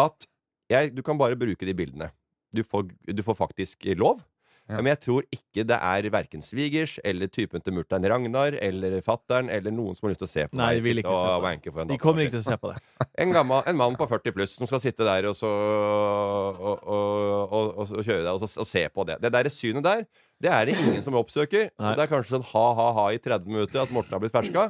Speaker 3: at jeg, du kan bare bruke de bildene. Du får, du får faktisk lov.
Speaker 4: Ja.
Speaker 3: Men jeg tror ikke det er verken svigers eller typen til mutter'n Ragnar eller fatter'n eller noen som har lyst til å se på
Speaker 2: Nei, de
Speaker 3: meg
Speaker 2: vil ikke
Speaker 3: sitte
Speaker 2: se
Speaker 3: og
Speaker 2: på det.
Speaker 3: wanke foran
Speaker 2: De
Speaker 3: datamaskin.
Speaker 2: kommer ikke til å se på det.
Speaker 3: En, gammel, en mann på 40 pluss som skal sitte der og, så, og, og, og, og, og kjøre deg og, så, og se på det. Det der synet der, det er det ingen som oppsøker.
Speaker 2: Nei.
Speaker 3: Og det er kanskje sånn ha-ha-ha i 30 minutter at Morten har blitt ferska.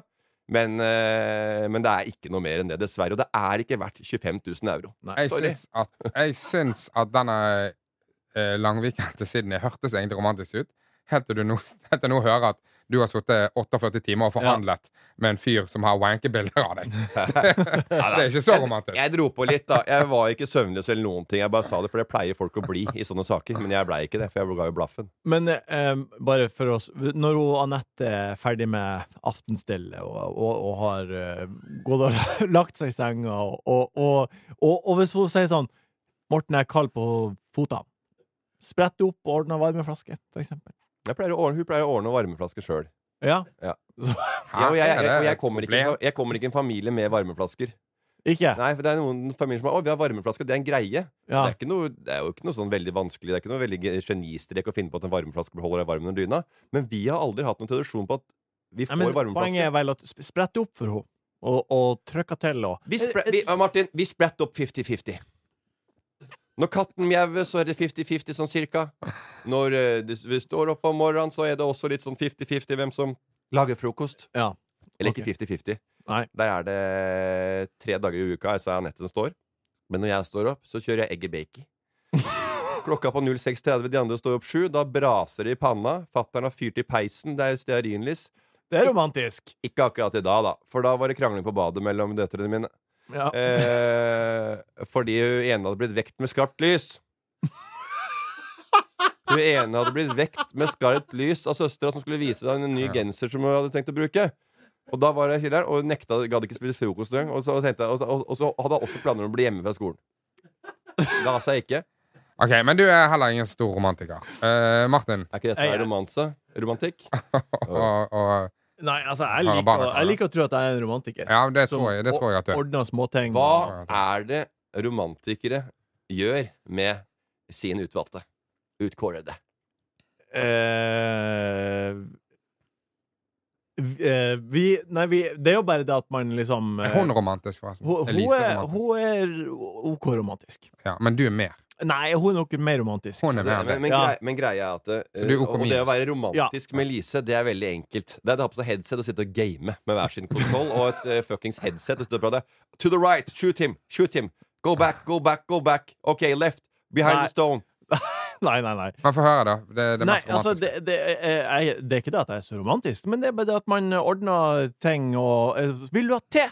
Speaker 3: Men, eh, men det er ikke noe mer enn det, dessverre. Og det er ikke verdt 25 000 euro.
Speaker 4: Jeg
Speaker 3: Sorry.
Speaker 4: syns at, jeg syns at denne eh, langviken til Sydney hørtes egentlig romantisk ut. Helt til du nå, helt til nå hører at du har sittet 48 timer og forhandlet med en fyr som har wankebilder av deg. det er ikke så romantisk.
Speaker 3: Jeg dro på litt, da. Jeg var ikke søvnløs eller noen ting. Jeg bare sa det, for det pleier folk å bli i sånne saker. Men jeg blei ikke det, for jeg ga jo blaffen.
Speaker 2: Men eh, bare for oss Når hun, Anette er ferdig med aftenstellet og, og, og har eh, gått og lagt seg i senga, og, og, og, og hvis hun sier sånn 'Morten er kald på fotene', sprett det opp og ordne varmeflaske, for eksempel.
Speaker 3: Jeg pleier å ordne, hun pleier å ordne varmeflasker sjøl.
Speaker 2: Ja.
Speaker 3: Ja, og jeg, jeg, jeg, og jeg, kommer ikke,
Speaker 4: Problem.
Speaker 3: jeg kommer ikke i en familie med varmeflasker.
Speaker 2: Ikke?
Speaker 3: Nei, for det er noen familier som har Å, vi har varmeflaske, det er en greie.
Speaker 2: Ja.
Speaker 3: Det, er ikke noe, det er jo ikke noe sånn veldig vanskelig Det er ikke noe veldig ge- genistrek å finne på at en varmeflaske holder deg varm under dyna. Men vi har aldri hatt noen tradisjon på at vi
Speaker 2: Nei, men
Speaker 3: får
Speaker 2: poenget
Speaker 3: varmeflaske.
Speaker 2: er vel at sp- sprett det opp for henne, og, og trykka til og Eh,
Speaker 3: Vi spre, vi, ja, Martin, vi spratt opp 50-50. Når katten mjauer, så er det 50-50 sånn cirka. Når eh, det- vi står opp om morgenen, så er det også litt sånn 50-50 hvem som lager frokost.
Speaker 2: Ja.
Speaker 3: Eller
Speaker 2: Ok.
Speaker 3: ikke 50-50.
Speaker 2: Nei.
Speaker 3: Der er det tre dager i uka, så er Anette som står. Men når jeg står opp, så kjører jeg egg i bacon. Klokka på 06.30, de andre står opp sju. Da braser det i panna. Fattern har fyrt i peisen, det er stearinlys.
Speaker 2: Det er romantisk!
Speaker 3: Ikke akkurat i dag, da, for da var det krangling på badet mellom døtrene mine.
Speaker 2: Ja.
Speaker 3: Eh, fordi hun ene hadde blitt vekt med skarpt lys. Hun ene hadde blitt vekt med skarpt lys av søstera som skulle vise deg en ny genser som hun hadde tenkt å bruke. Og da var det hyller, og hun nekta, gadd ikke spise frokost engang. Og, så- og, tenkte jeg- og, så- og, og så hadde hun også planer om å bli hjemme fra skolen. Da sa jeg ikke.
Speaker 4: Ok, Men du er heller ingen stor romantiker. Eh, Martin
Speaker 3: Er ikke dette
Speaker 2: Jeg-
Speaker 3: her romanse? Romantikk?
Speaker 4: og, og
Speaker 2: Nei, altså, jeg
Speaker 4: Har
Speaker 2: liker,
Speaker 4: barna
Speaker 2: å-
Speaker 4: klar,
Speaker 2: jeg
Speaker 4: da?
Speaker 2: liker å tro at jeg er en romantiker.
Speaker 4: Ja, det tror jeg, det tror jeg at du er.
Speaker 2: ordner småting.
Speaker 3: Hva er det romantikere gjør med sin utvalgte? Utkårede.
Speaker 2: Eh, vi- eh, vi, nei, vi, det er jo bare det at man liksom eh,
Speaker 4: Er hun romantisk, forresten?
Speaker 2: hun, hun,
Speaker 4: Elise
Speaker 2: er,
Speaker 4: romantisk.
Speaker 2: hun er OK romantisk.
Speaker 4: Ja, men du er mer.
Speaker 2: Nei, hun er nok mer romantisk.
Speaker 4: Hun er mer
Speaker 3: Men,
Speaker 4: enn det.
Speaker 3: men,
Speaker 2: Ja.
Speaker 3: grei, men greia er at eh,
Speaker 4: Så du er OK
Speaker 3: Og det å
Speaker 4: minus.
Speaker 3: være romantisk med Lise, det er veldig enkelt. Det er det å ha på seg headset og sitte og game med hver sin konsoll og et eh, fuckings headset og sitte og prate To the right! Shoot him! Shoot him! Go back! Go back! Go back! OK, left! Behind
Speaker 2: Nei.
Speaker 3: the stone!
Speaker 2: Nei, nei, nei.
Speaker 4: Men få høre, da. Det er det
Speaker 2: nei
Speaker 4: mest
Speaker 2: altså,
Speaker 4: romantiske.
Speaker 2: det, det, er, jeg, det er ikke det at jeg er så romantisk, men det er bare det at man ordner ting og eh, Vil du ha te?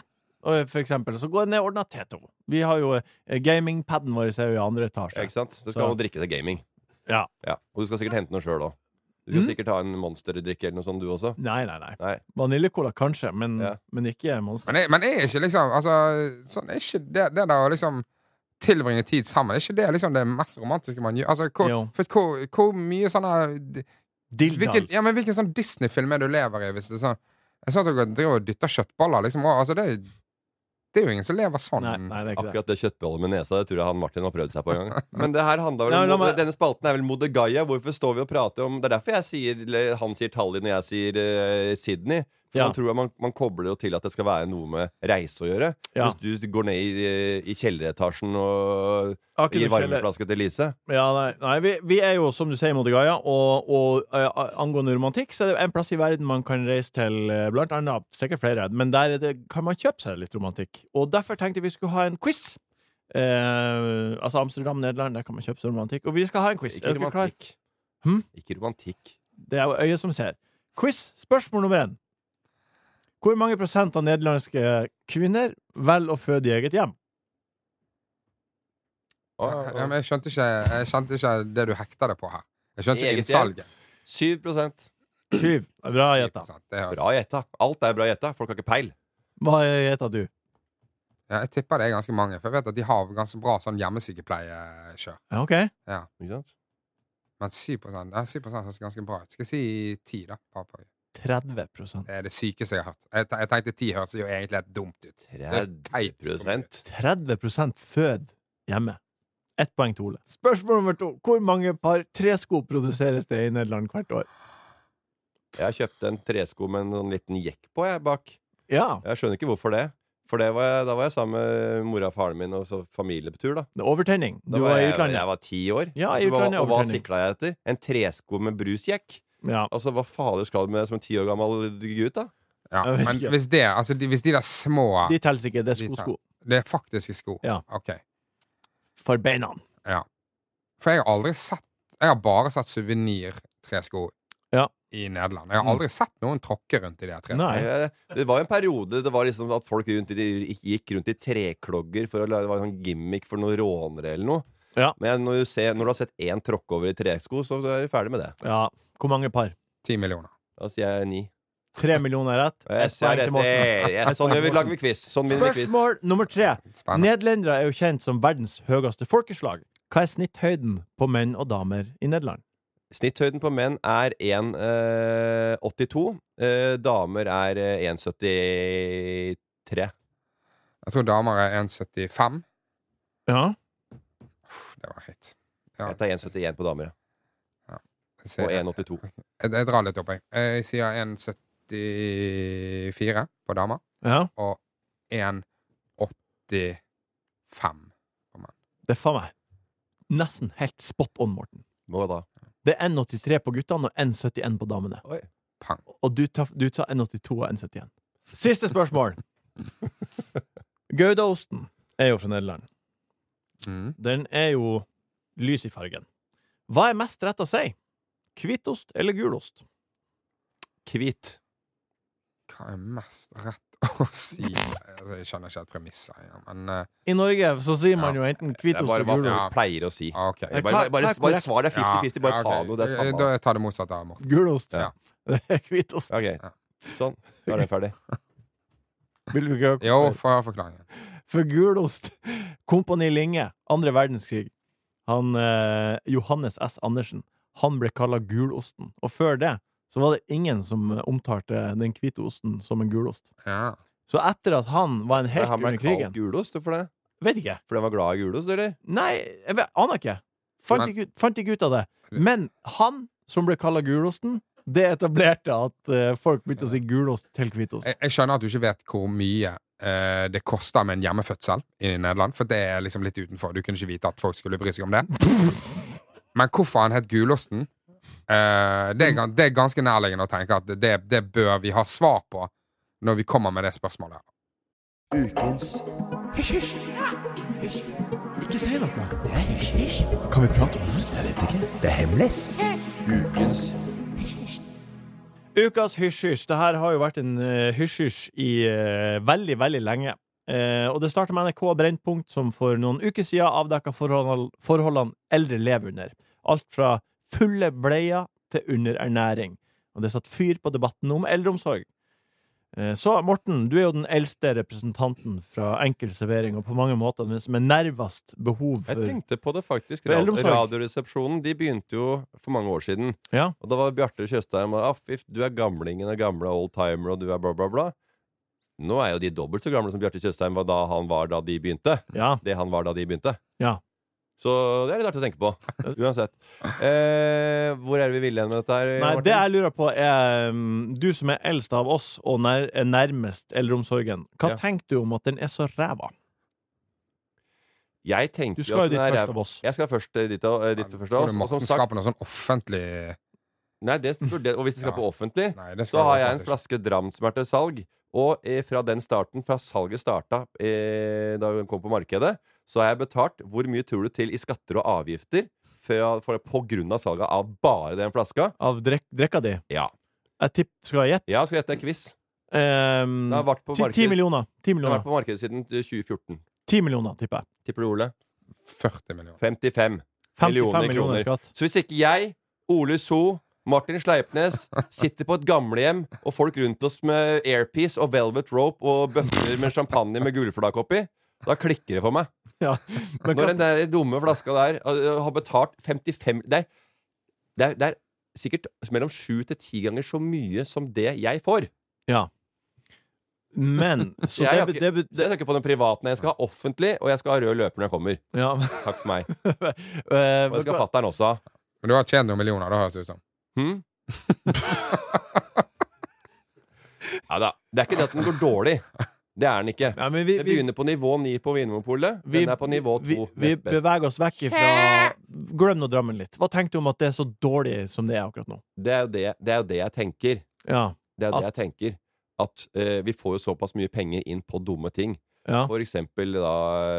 Speaker 2: Og, eh, For eksempel, så går jeg ned og ordner te til henne. Vi har jo eh, gamingpaden vår er jo i andre etasje.
Speaker 3: Ikke sant? Så
Speaker 2: Så-
Speaker 3: skal han jo drikke seg gaming.
Speaker 2: Ja.
Speaker 3: Ja. Og du skal sikkert hente noe sjøl òg. Du
Speaker 2: Mm.
Speaker 3: skal sikkert ha en monsterdrikk eller noe sånt, du også.
Speaker 2: Nei, nei, nei.
Speaker 3: Nei.
Speaker 2: Vaniljekola kanskje, men,
Speaker 3: Ja.
Speaker 2: men ikke Monster.
Speaker 4: Men jeg, men jeg er ikke liksom altså, sånn, er ikke det, det der å liksom tilbringe tid sammen, er ikke det liksom det mest romantiske man gjør? Altså, hvor,
Speaker 2: Jo.
Speaker 4: for hvor, hvor mye sånne d-
Speaker 2: Dilldall.
Speaker 4: hvilken, ja, men hvilken sånn Disney-film er det du lever i, hvis det er sånn Jeg sa at dere driver og dytter kjøttballer, liksom. Og, altså, det, er- det er jo ingen som lever sånn.
Speaker 2: Nei, nei, det er ikke det.
Speaker 3: Akkurat det kjøttbeholdet med nesa, det tror jeg han Martin har prøvd seg på en gang. Men det her handler vel
Speaker 2: Nei,
Speaker 3: om
Speaker 2: la meg-
Speaker 3: Denne spalten er vel Modegaia. Hvorfor står vi og prater om Det er derfor jeg sier, eller han sier Tallinn, og jeg sier eh, Sydney. For
Speaker 2: Ja.
Speaker 3: man, tror at man, man kobler det jo til at det skal være noe med reise å gjøre.
Speaker 2: Ja.
Speaker 3: Hvis du går ned i, eh, i kjelleretasjen og
Speaker 2: Har ikke noe
Speaker 3: gir
Speaker 2: kjeller.
Speaker 3: varmeflaske til Lise
Speaker 2: Ja, nei, nei vi, vi er jo, som du sier, Modigaya, og, og eh, angående romantikk, så er det en plass i verden man kan reise til, eh, blant annet sikkert flere, men der er det, kan man kjøpe seg litt romantikk. Og derfor tenkte vi skulle ha en quiz. Eh, altså Amsterdam, Nederland, der kan man kjøpe seg romantikk. Og vi skal ha en quiz.
Speaker 3: Ikke
Speaker 2: dere klare?
Speaker 3: romantikk.
Speaker 2: Hm?
Speaker 3: Ikke romantikk.
Speaker 2: Det er jo øyet som ser. Quiz spørsmål nummer én. Hvor mange prosent av nederlandske kvinner velger å føde i eget hjem?
Speaker 3: Å,
Speaker 4: Ja,
Speaker 3: å,
Speaker 4: men jeg, skjønte ikke, jeg skjønte ikke det du hekta deg på her. Jeg skjønte
Speaker 3: Eget
Speaker 4: ikke innsalget.
Speaker 3: 7 Bra
Speaker 2: Syv. Bra gjetta.
Speaker 4: Det høres-
Speaker 3: gjetta. Alt er bra gjetta. Folk har ikke peil.
Speaker 2: Hva gjetter du?
Speaker 4: Ja, jeg tipper det er ganske mange, for jeg vet at de har ganske bra sånn hjemmesykepleiekjør.
Speaker 2: Ja, OK.
Speaker 3: Ikke sant?
Speaker 4: Men 7 ja, 7 høres ganske bra ut. Skal jeg si 10, da? Pappa?
Speaker 2: 30
Speaker 4: Det er det sykeste jeg har hørt. Jeg, te- jeg tenkte 10 høres jo egentlig helt dumt ut. teit.
Speaker 3: 30
Speaker 2: 30 fød hjemme. Ett poeng til Ole. Spørsmål nummer to. Hvor mange par tresko produseres det i Nederland hvert år?
Speaker 3: Jeg kjøpte en tresko med en sånn liten jekk på jeg, bak.
Speaker 2: Ja,
Speaker 3: Jeg skjønner ikke hvorfor det. For det var jeg, da var jeg sammen med mora og faren min og så familie på tur. da
Speaker 2: det er overtenning.
Speaker 3: Da
Speaker 2: Du var i
Speaker 3: jeg,
Speaker 2: utlandet.
Speaker 3: jeg var ti år.
Speaker 2: Ja, i
Speaker 3: og så var-
Speaker 2: utlandet,
Speaker 3: og hva
Speaker 2: overtenning.
Speaker 3: sikla jeg etter? En tresko med brusjekk?
Speaker 2: Ja.
Speaker 3: Altså, Hva fader skal du med det som en ti år gammel gutt? da?
Speaker 4: Ja,
Speaker 2: Jeg vet
Speaker 4: men
Speaker 2: ikke.
Speaker 4: hvis, det, altså, de, hvis de der små
Speaker 2: De telles ikke. Det er
Speaker 4: De tar-
Speaker 2: skosko.
Speaker 4: Det er faktiske sko.
Speaker 2: Ja.
Speaker 4: Ok.
Speaker 2: For beina.
Speaker 4: Ja. For jeg har aldri sett Jeg har bare sett suvenir-tresko
Speaker 2: Ja.
Speaker 4: i Nederland. Jeg har
Speaker 2: Mm.
Speaker 4: aldri sett noen tråkke rundt i de her treskoene.
Speaker 2: Nei.
Speaker 3: Jeg- Det var jo en periode det var liksom at folk rundt i, de- gikk rundt i treklogger for å la- Det var en sånn gimmick for noen rånere eller noe.
Speaker 2: Ja.
Speaker 3: Men når du, ser, når du har sett én tråkke over i tresko, så er du ferdig med det.
Speaker 2: Ja. Hvor mange par?
Speaker 4: Ti millioner.
Speaker 3: Da sier jeg ni.
Speaker 2: Tre millioner er rett.
Speaker 3: Jeg
Speaker 2: Ett
Speaker 3: ser
Speaker 2: poeng
Speaker 3: rett.
Speaker 2: til Morten.
Speaker 3: Eh, yes, sånn gjør vi, lager vi quiz. Sånn begynner vi quiz.
Speaker 2: Spørsmål nummer tre.
Speaker 4: Spennende.
Speaker 2: Nederlendere er jo kjent som verdens høyeste folkeslag. Hva er snitthøyden på menn og damer i Nederland?
Speaker 3: Snitthøyden på menn er 1,82. Eh, damer er eh, 1,73.
Speaker 4: Jeg tror damer er 1,75.
Speaker 2: Ja.
Speaker 4: Uff, Det var høyt.
Speaker 3: Jeg tar 1,71 på damer. ja.
Speaker 4: sier-
Speaker 3: og 1,82.
Speaker 4: Jeg, jeg drar litt opp, jeg. Jeg sier 1,74 på damer
Speaker 2: ja.
Speaker 4: og 1,85.
Speaker 2: Det er faen meg nesten helt spot on, Morten.
Speaker 3: Må da.
Speaker 2: Det er 1,83 på guttene og 1,71 på damene.
Speaker 3: Oi.
Speaker 4: Pang.
Speaker 2: Og du tar, du tar 1,82 og 1,71. Siste spørsmål. Goudaosten er jo fra Nederland.
Speaker 4: Mm.
Speaker 2: Den er jo lys i fargen. Hva er mest rett å si? Hvitost eller gulost?
Speaker 3: Hvit.
Speaker 4: Hva er mest rett å si? Altså, jeg skjønner ikke helt premisset, ja, men eh,
Speaker 2: I Norge så sier man jo enten
Speaker 3: Det er
Speaker 2: hvitost
Speaker 3: bare
Speaker 2: og
Speaker 3: hva folk
Speaker 2: gulost.
Speaker 3: pleier å si.
Speaker 4: ah, OK.
Speaker 3: Bare,
Speaker 2: Nei,
Speaker 3: bare,
Speaker 2: hva- hva
Speaker 3: bare,
Speaker 2: er
Speaker 3: bare
Speaker 2: korrekt?
Speaker 3: svar det er 50-50. Bare
Speaker 4: Ja,
Speaker 3: ta
Speaker 4: ok.
Speaker 3: noe. Det er
Speaker 4: Da
Speaker 3: samme.
Speaker 4: jeg tar det motsatte av Morten.
Speaker 2: Gulost.
Speaker 4: Ja.
Speaker 2: Det er hvitost.
Speaker 3: Ok, Sånn. Da er den ferdig.
Speaker 2: Vil du ikke
Speaker 4: Jo,
Speaker 2: høre?
Speaker 4: for forklaringen.
Speaker 2: For gulost Kompani Linge, andre verdenskrig Han, eh, Johannes S. Andersen Han ble kallet gulosten Og før det, så var det ingen som eh, omtalte den hvite osten som en gulost
Speaker 4: Ja.
Speaker 2: Så etter at han var en helt
Speaker 3: Han ble
Speaker 2: under
Speaker 3: kalt
Speaker 2: krigen
Speaker 3: gulost for det.
Speaker 2: Vet ikke
Speaker 3: Fordi han var glad i gulost, eller?
Speaker 2: Nei, jeg vet, aner ikke fant
Speaker 4: Men-
Speaker 2: ikke, ut, fant ikke ut av det Men han som ble kallet gulosten Det etablerte at eh, folk begynte å si gulost til hvitost
Speaker 4: Jeg, jeg skjønner at du ikke vet hvor mye eh, det koster med en hjemmefødsel i Nederland, for det er liksom litt utenfor. Du kunne ikke vite at folk skulle bry seg om det. Men hvorfor han het Gulosten, eh, det, er, gan- det er ganske nærliggende å tenke at det, det bør vi ha svar på når vi kommer med det spørsmålet.
Speaker 2: Ukas hysj-hysj. Det her har jo vært en eh, hysj-hysj i eh, veldig, veldig lenge. Eh, og det starter med NRK Brennpunkt, som for noen uker siden avdekka forhold, forholdene eldre lever under. Alt fra fulle bleier til underernæring. Og det satt fyr på debatten om eldreomsorg. Eh, Så Morten, du er jo den eldste representanten fra enkel servering, og på mange måter den som er nærmest behov
Speaker 3: Jeg
Speaker 2: for
Speaker 3: tenkte på det faktisk.
Speaker 2: For
Speaker 3: Rad-
Speaker 2: eldreomsorg.
Speaker 3: Radioresepsjonen de begynte jo for mange år siden.
Speaker 2: Ja.
Speaker 3: Og da var Bjarte Tjøstheim og Affif, du er gamlingen og gamle oldtimer, og du er bla, bla, bla. Nå er jo de dobbelt så gamle som Bjarte Tjøstheim var da han var da de begynte.
Speaker 2: Ja.
Speaker 3: Det han var da de begynte.
Speaker 2: Ja.
Speaker 3: Så det er litt artig å tenke på. Uansett. Eh, hvor er det vi ville hen med dette her?
Speaker 2: Nei,
Speaker 3: Eh, Martin?
Speaker 2: det jeg lurer på er um, Du som er eldst av oss og nær, er nærmest eldreomsorgen, hva
Speaker 3: Ja.
Speaker 2: tenker du om at den er så ræva?
Speaker 3: Jeg
Speaker 2: Du
Speaker 3: tenker
Speaker 2: skal
Speaker 3: at
Speaker 2: jo dit
Speaker 3: den er
Speaker 2: først
Speaker 3: ræv-
Speaker 2: av oss.
Speaker 3: Jeg skal først eh, dit, og, eh, dit først av
Speaker 4: Tror du
Speaker 3: oss. Og,
Speaker 4: Morten
Speaker 3: som sagt,
Speaker 4: skaper noe sånn offentlig
Speaker 3: nei, det burde, og hvis det skal
Speaker 4: Ja.
Speaker 3: på offentlig,
Speaker 4: Nei, det
Speaker 3: så
Speaker 4: skal
Speaker 3: har
Speaker 4: det
Speaker 3: jeg en
Speaker 4: faktisk.
Speaker 3: flaske Dram som er til salg. Og eh, fra den starten, fra salget starta eh, da den kom på markedet, så har jeg betalt hvor mye tror du til i skatter og avgifter Thea for det på grunn av salget av bare den flaska.
Speaker 2: av drek drekka di.
Speaker 3: Ja.
Speaker 2: Jeg tipp, skal jeg gjette?
Speaker 3: Ja, skal gjette en quiz.
Speaker 2: Ehm,
Speaker 3: Den har vært på
Speaker 2: ti, ti
Speaker 3: markedet-
Speaker 2: millioner. Ti
Speaker 3: Den har
Speaker 2: millioner,
Speaker 3: vært på markedet siden 2014.
Speaker 2: ti millioner tipper jeg.
Speaker 3: Tipper du, Ole?
Speaker 4: 40 millioner.
Speaker 3: 55
Speaker 2: 55
Speaker 3: millioner,
Speaker 2: millioner
Speaker 3: kroner.
Speaker 2: skatt.
Speaker 3: Så hvis ikke jeg, Ole So, Martin Sleipnes sitter på et gamlehjem og folk rundt oss med airpiece og velvet rope og bøtter med champagne med gullflak oppi, da klikker det for meg.
Speaker 2: Ja. Men
Speaker 3: Når
Speaker 2: hva-
Speaker 3: den der dumme flaska der uh, har betalt 55 Det er, det er, det er sikkert mellom sju til ti ganger så mye som det jeg får.
Speaker 2: ja. Men så
Speaker 3: Så jeg,
Speaker 2: det,
Speaker 3: har
Speaker 2: be-
Speaker 3: ikke,
Speaker 2: det, be-
Speaker 3: så jeg
Speaker 2: det,
Speaker 3: skal ikke på den privaten. Jeg skal ha offentlig, og jeg skal ha rød løper når jeg kommer.
Speaker 2: Ja.
Speaker 3: Takk for meg.
Speaker 2: Eh,
Speaker 3: Og det skal fatter'n også ha.
Speaker 4: Men du har tjent noen millioner, det høres det ut som.
Speaker 3: Hm? Ja da. Det er ikke det at den går dårlig. Det er den ikke.
Speaker 2: Ja, men vi,
Speaker 3: Det
Speaker 2: vi,
Speaker 3: begynner på nivå 9 på Vinmonopolet.
Speaker 2: vi,
Speaker 3: Den er på nivå 2.
Speaker 2: vi, vi beveger oss vekk ifra Glem nå Drammen litt. Hva tenker du om at det er så dårlig som det er akkurat nå?
Speaker 3: Det er jo det, det, er jo det jeg tenker.
Speaker 2: Ja.
Speaker 3: Det er jo det
Speaker 2: At-
Speaker 3: jeg tenker. At eh, vi får jo såpass mye penger inn på dumme ting.
Speaker 2: ja.
Speaker 3: For eksempel da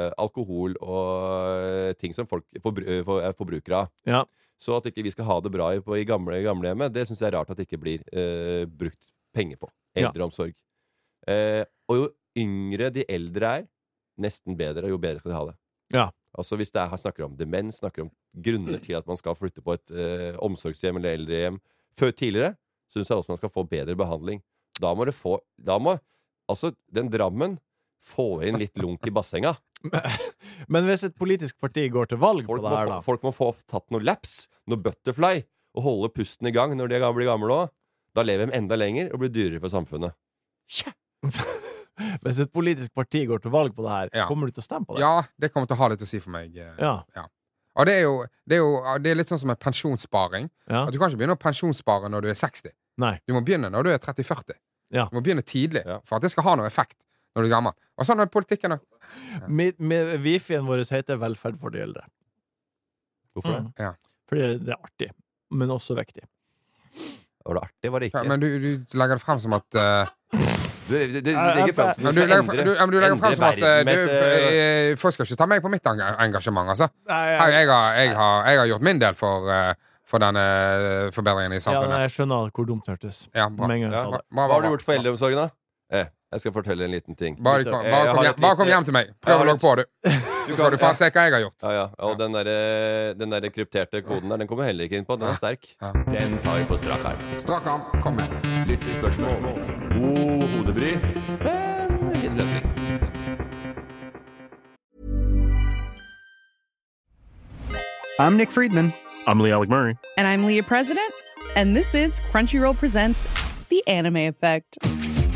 Speaker 3: eh, alkohol og eh, ting som folk forbru- eh, for, er forbrukere av.
Speaker 2: Ja.
Speaker 3: Så at ikke vi skal ha det bra i, på, i gamle gamlehjemmet, det syns jeg er rart at det ikke blir eh, brukt penger på.
Speaker 2: Ja.
Speaker 3: Eldreomsorg. Eh, og jo yngre de eldre er, nesten bedre, jo bedre skal de ha det.
Speaker 2: Ja.
Speaker 3: Altså Hvis det er, snakker om demens, snakker om grunner til at man skal flytte på et eh, omsorgshjem eller eldrehjem før tidligere, syns jeg også man skal få bedre behandling. Da må det få Da må Altså, den Drammen få inn litt lunk i bassenga.
Speaker 2: Men hvis et politisk parti går til valg
Speaker 3: Folk,
Speaker 2: på
Speaker 3: må
Speaker 2: det her,
Speaker 3: få-
Speaker 2: da
Speaker 3: folk må få tatt noe laps, noe butterfly, og holde pusten i gang når de er gam- blir gamle òg. Da lever de enda lenger og blir dyrere for samfunnet.
Speaker 2: Hvis et politisk parti går til valg på det her,
Speaker 4: Ja.
Speaker 2: kommer du til å stemme på det?
Speaker 4: Ja, det kommer til å ha litt å si for meg. eh.
Speaker 2: Ja.
Speaker 4: Og det er jo, det er jo det er litt sånn som en pensjonssparing.
Speaker 2: Ja.
Speaker 4: At Du kan ikke begynne å pensjonsspare når du er 60.
Speaker 2: Nei.
Speaker 4: Du må begynne når du er 30-40.
Speaker 2: Ja.
Speaker 4: Du må begynne tidlig
Speaker 3: Ja.
Speaker 4: for at det skal ha noe effekt når du er gammel. Og sånn er politikken òg.
Speaker 2: Mi- mi- Wifien vår heter Velferd for de eldre.
Speaker 3: Hvorfor det?
Speaker 2: Mm.
Speaker 4: Ja.
Speaker 2: Fordi det er artig, men også viktig.
Speaker 3: Var det artig? Var det ikke?
Speaker 4: Men du, du legger det frem som at eh,
Speaker 3: Du, du, du, du legger frem som
Speaker 4: men
Speaker 3: du
Speaker 4: du
Speaker 3: skal
Speaker 4: legger, fre-
Speaker 3: endre,
Speaker 4: du, ja, men du legger frem som at
Speaker 3: endre
Speaker 4: eh,
Speaker 3: verden med
Speaker 4: du,
Speaker 3: et, eh,
Speaker 4: eh, Folk skal ikke ta meg på mitt enga- engasjement, altså.
Speaker 2: Nei,
Speaker 4: Her, Jeg har, jeg har, jeg har gjort min del for, eh, for denne eh, forbedringen i
Speaker 2: ja, nei,
Speaker 4: samfunnet.
Speaker 2: jeg skjønner hvor dumt det hørtes.
Speaker 4: Ja, bra.
Speaker 2: Med en gang jeg
Speaker 3: Ja,
Speaker 2: sa
Speaker 4: Bra,
Speaker 2: det.
Speaker 4: bra,
Speaker 3: Hva har du
Speaker 4: bra.
Speaker 3: gjort for eldreomsorgen, da? Eh, jeg skal fortelle en liten ting.
Speaker 4: Bare kom,
Speaker 3: Jeg
Speaker 4: bare,
Speaker 3: har
Speaker 4: kom hjem,
Speaker 3: et
Speaker 4: bare kom
Speaker 3: lite-
Speaker 4: hjem til meg. Prøv
Speaker 3: har
Speaker 4: å logge på, du. Så skal
Speaker 3: kan-
Speaker 4: du faen se hva jeg har gjort.
Speaker 3: Ja, ja. Og den derre den der krypterte koden der, den kommer heller ikke inn på. Den er sterk.
Speaker 4: Ja.
Speaker 3: Den tar vi på strak arm.
Speaker 4: Strak arm. Kom med.
Speaker 3: Lyttespørsmål. God hodebry, men ingen løsning.
Speaker 6: I'm Nick Friedman.
Speaker 7: I'm Lee Alec Murray.
Speaker 8: And I'm Leah President, and this is Crunchyroll Presents The Anime Effect.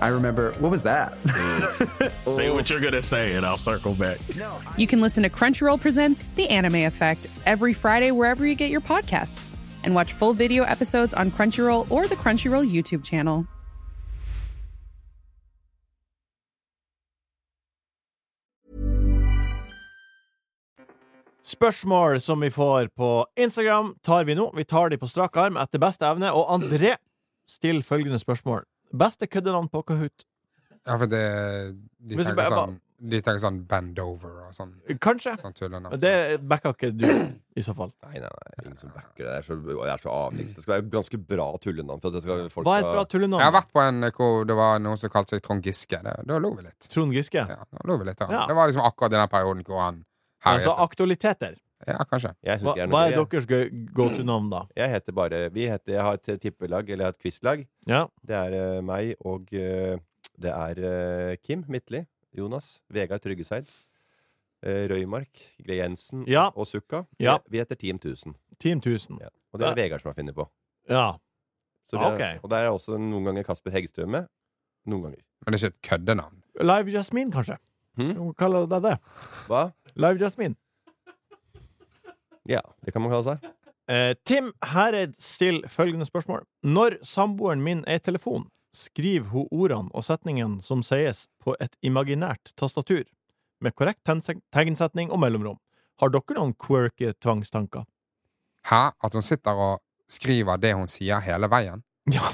Speaker 6: I remember, what was that?
Speaker 7: Say what you're gonna say, and I'll circle back.
Speaker 8: you can listen to Crunchyroll Presents The Anime Effect every Friday wherever you get your podcasts. And watch full video episodes on Crunchyroll or the Crunchyroll YouTube channel.
Speaker 2: Spørsmål som vi får på Instagram, tar vi nå. Vi tar de på strak arm etter beste evne. Og André stiller følgende spørsmål. Beste køddenavn på Kahoot?
Speaker 4: Ja, for det, de,
Speaker 2: Men så
Speaker 4: tenker
Speaker 2: bare-
Speaker 4: sånn, de tenker sånn bend over og sånn,
Speaker 2: Kanskje.
Speaker 4: sånn tullenavn.
Speaker 2: Men Det backa ikke du, i så fall.
Speaker 3: Nei, nei, nei. Ingen som backer det. Det er så, det er så avleggs. Det skal være ganske bra tullenavn. For at det skal, folk
Speaker 2: Hva er et
Speaker 3: skal-
Speaker 2: bra tullenavn?
Speaker 4: Jeg har vært på en eh, hvor det var noen som kalte seg Trond Giske. Det, da lo vi litt.
Speaker 2: Trond Giske?
Speaker 4: Ja, da lo vi litt av han.
Speaker 2: Ja.
Speaker 4: Det var liksom akkurat i den perioden hvor han
Speaker 2: Altså
Speaker 4: herjet.
Speaker 2: aktualiteter.
Speaker 4: Ja, kanskje.
Speaker 3: Jeg synes
Speaker 2: Hva,
Speaker 3: ikke jeg
Speaker 2: hva
Speaker 3: noe-
Speaker 2: er deres gøy- go-to-navn, da?
Speaker 3: Jeg, jeg heter bare Vi heter Jeg har et tippelag, eller jeg har et quizlag.
Speaker 2: Ja.
Speaker 3: Det er eh, meg og eh, Det er eh, Kim Midtli, Jonas, Vegard Tryggeseid, eh, Røymark, Greg Jensen
Speaker 2: Ja.
Speaker 3: og Sukka.
Speaker 2: Ja.
Speaker 3: Vi heter Team 1000.
Speaker 2: Team 1000.
Speaker 3: Ja. Og det er
Speaker 2: Ja.
Speaker 3: Vegard som har funnet på.
Speaker 2: Ja.
Speaker 3: Så vi
Speaker 2: Ah,
Speaker 3: er-
Speaker 2: ok.
Speaker 3: Og der er også noen ganger Kasper Heggstrøm med. Noen ganger.
Speaker 4: Men det er ikke et køddenavn.
Speaker 2: Live Jasmine, kanskje?
Speaker 3: Hm?
Speaker 2: Hun kaller deg det.
Speaker 3: Hva?
Speaker 2: Live Jasmine.
Speaker 3: Ja, det kan man kalle seg.
Speaker 2: Eh, Tim Hereid stiller følgende spørsmål. Når samboeren min er i telefon, skriver hun ordene og setningen som sies på et imaginært tastatur, med korrekt tegn- tegnsetning og mellomrom. Har dere noen quirky tvangstanker?
Speaker 4: Hæ? At hun sitter og skriver det hun sier hele veien?
Speaker 2: Ja.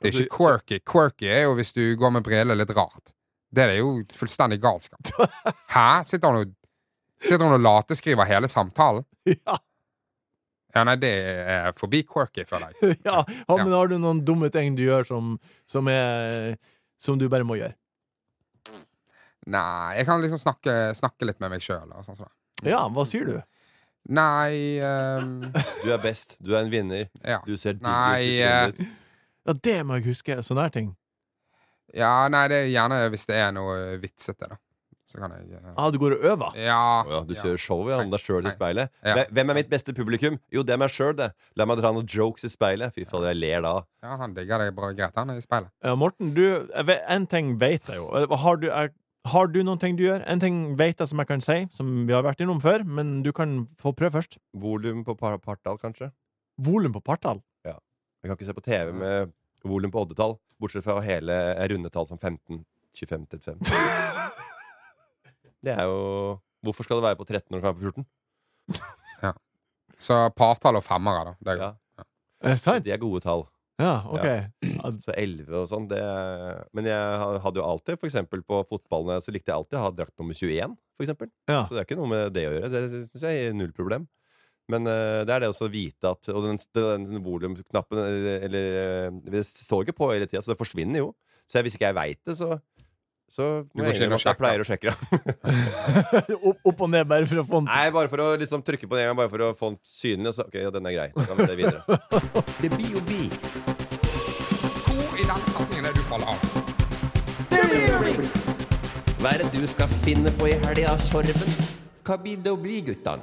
Speaker 4: Det er
Speaker 2: Altså,
Speaker 4: ikke quirky. Quirky er jo hvis du går med briller litt rart. Det er jo fullstendig galskap. Hæ? Sitter hun og Sitter hun og lateskriver hele samtalen?
Speaker 2: Ja.
Speaker 4: Ja, nei, det er forbi quirky, føler jeg.
Speaker 2: ja, men har du noen dumme ting du gjør som, som, er, som du bare må gjøre?
Speaker 4: Nei, jeg kan liksom snakke, snakke litt med meg sjøl. Sånn, sånn.
Speaker 2: Ja, hva sier du?
Speaker 4: Nei ehm,
Speaker 3: Du er best. Du er en vinner.
Speaker 4: Ja.
Speaker 3: Du ser digg ut
Speaker 4: Nei, eh,
Speaker 3: i trynet ditt.
Speaker 2: Ja, det må jeg huske. Sånne her ting.
Speaker 4: ja, nei, det er gjerne hvis det er noe vitsete, da. Så kan jeg eh,
Speaker 2: Ah, du går og øver?
Speaker 4: Ja.
Speaker 3: Å ja, du kjører show ja, om deg sjøl i speilet.
Speaker 4: Ja.
Speaker 3: Hve- Hvem er mitt beste publikum? Jo, det er meg sjøl, det. La meg dra noen jokes i speilet. Fy faen, jeg ler da.
Speaker 4: ja, han digger det bra greit, han er i speilet.
Speaker 2: Ja, Morten, du, jeg vet- en ting vet jeg jo. Har du, er, har du noen ting du gjør? En ting vet jeg som jeg kan si, som vi har vært innom før, men du kan få prøve først.
Speaker 3: Volum på par partall, kanskje?
Speaker 2: Volum på partall.
Speaker 3: Jeg kan ikke se på TV med volum på oddetall, bortsett fra hele runde tall som 15, 25, 35. Det er jo Hvorfor skal det være på 13 når det kan være på 14?
Speaker 4: Så partall og femmere, da. Det er
Speaker 3: Ja.
Speaker 4: godt.
Speaker 2: Er det sant?
Speaker 3: De er gode tall.
Speaker 2: Ja, ok.
Speaker 3: Så 11 og sånn, det Men jeg ha- hadde jo alltid, for eksempel på fotballene, så likte jeg alltid å ha drakt nummer 21, for eksempel.
Speaker 2: Ja.
Speaker 3: Så det er ikke noe med det å gjøre. Det syns jeg er null problem. Men eh, det er det også å vite at Og den, den, den volumknappen eh, eller, eh, Det står ikke på hele tida, så det forsvinner jo. Så jeg, hvis ikke jeg veit det, så så
Speaker 4: Du
Speaker 3: må
Speaker 4: går
Speaker 3: jeg
Speaker 4: ikke
Speaker 3: innrømme
Speaker 4: inn
Speaker 3: at
Speaker 4: og
Speaker 3: jeg pleier å sjekke det.
Speaker 2: opp, opp og ned, bare for å få den.
Speaker 3: Nei, bare for å liksom trykke på det en gang, bare for å få den synlig. og Så, ok, ja, den er grei. Da kan vi se videre. Det blir jo bi.
Speaker 4: Hvor i den setningen er det du faller av?
Speaker 3: Hva er det du skal finne på i helga, Sorven? Hva blir det å bli, guttan?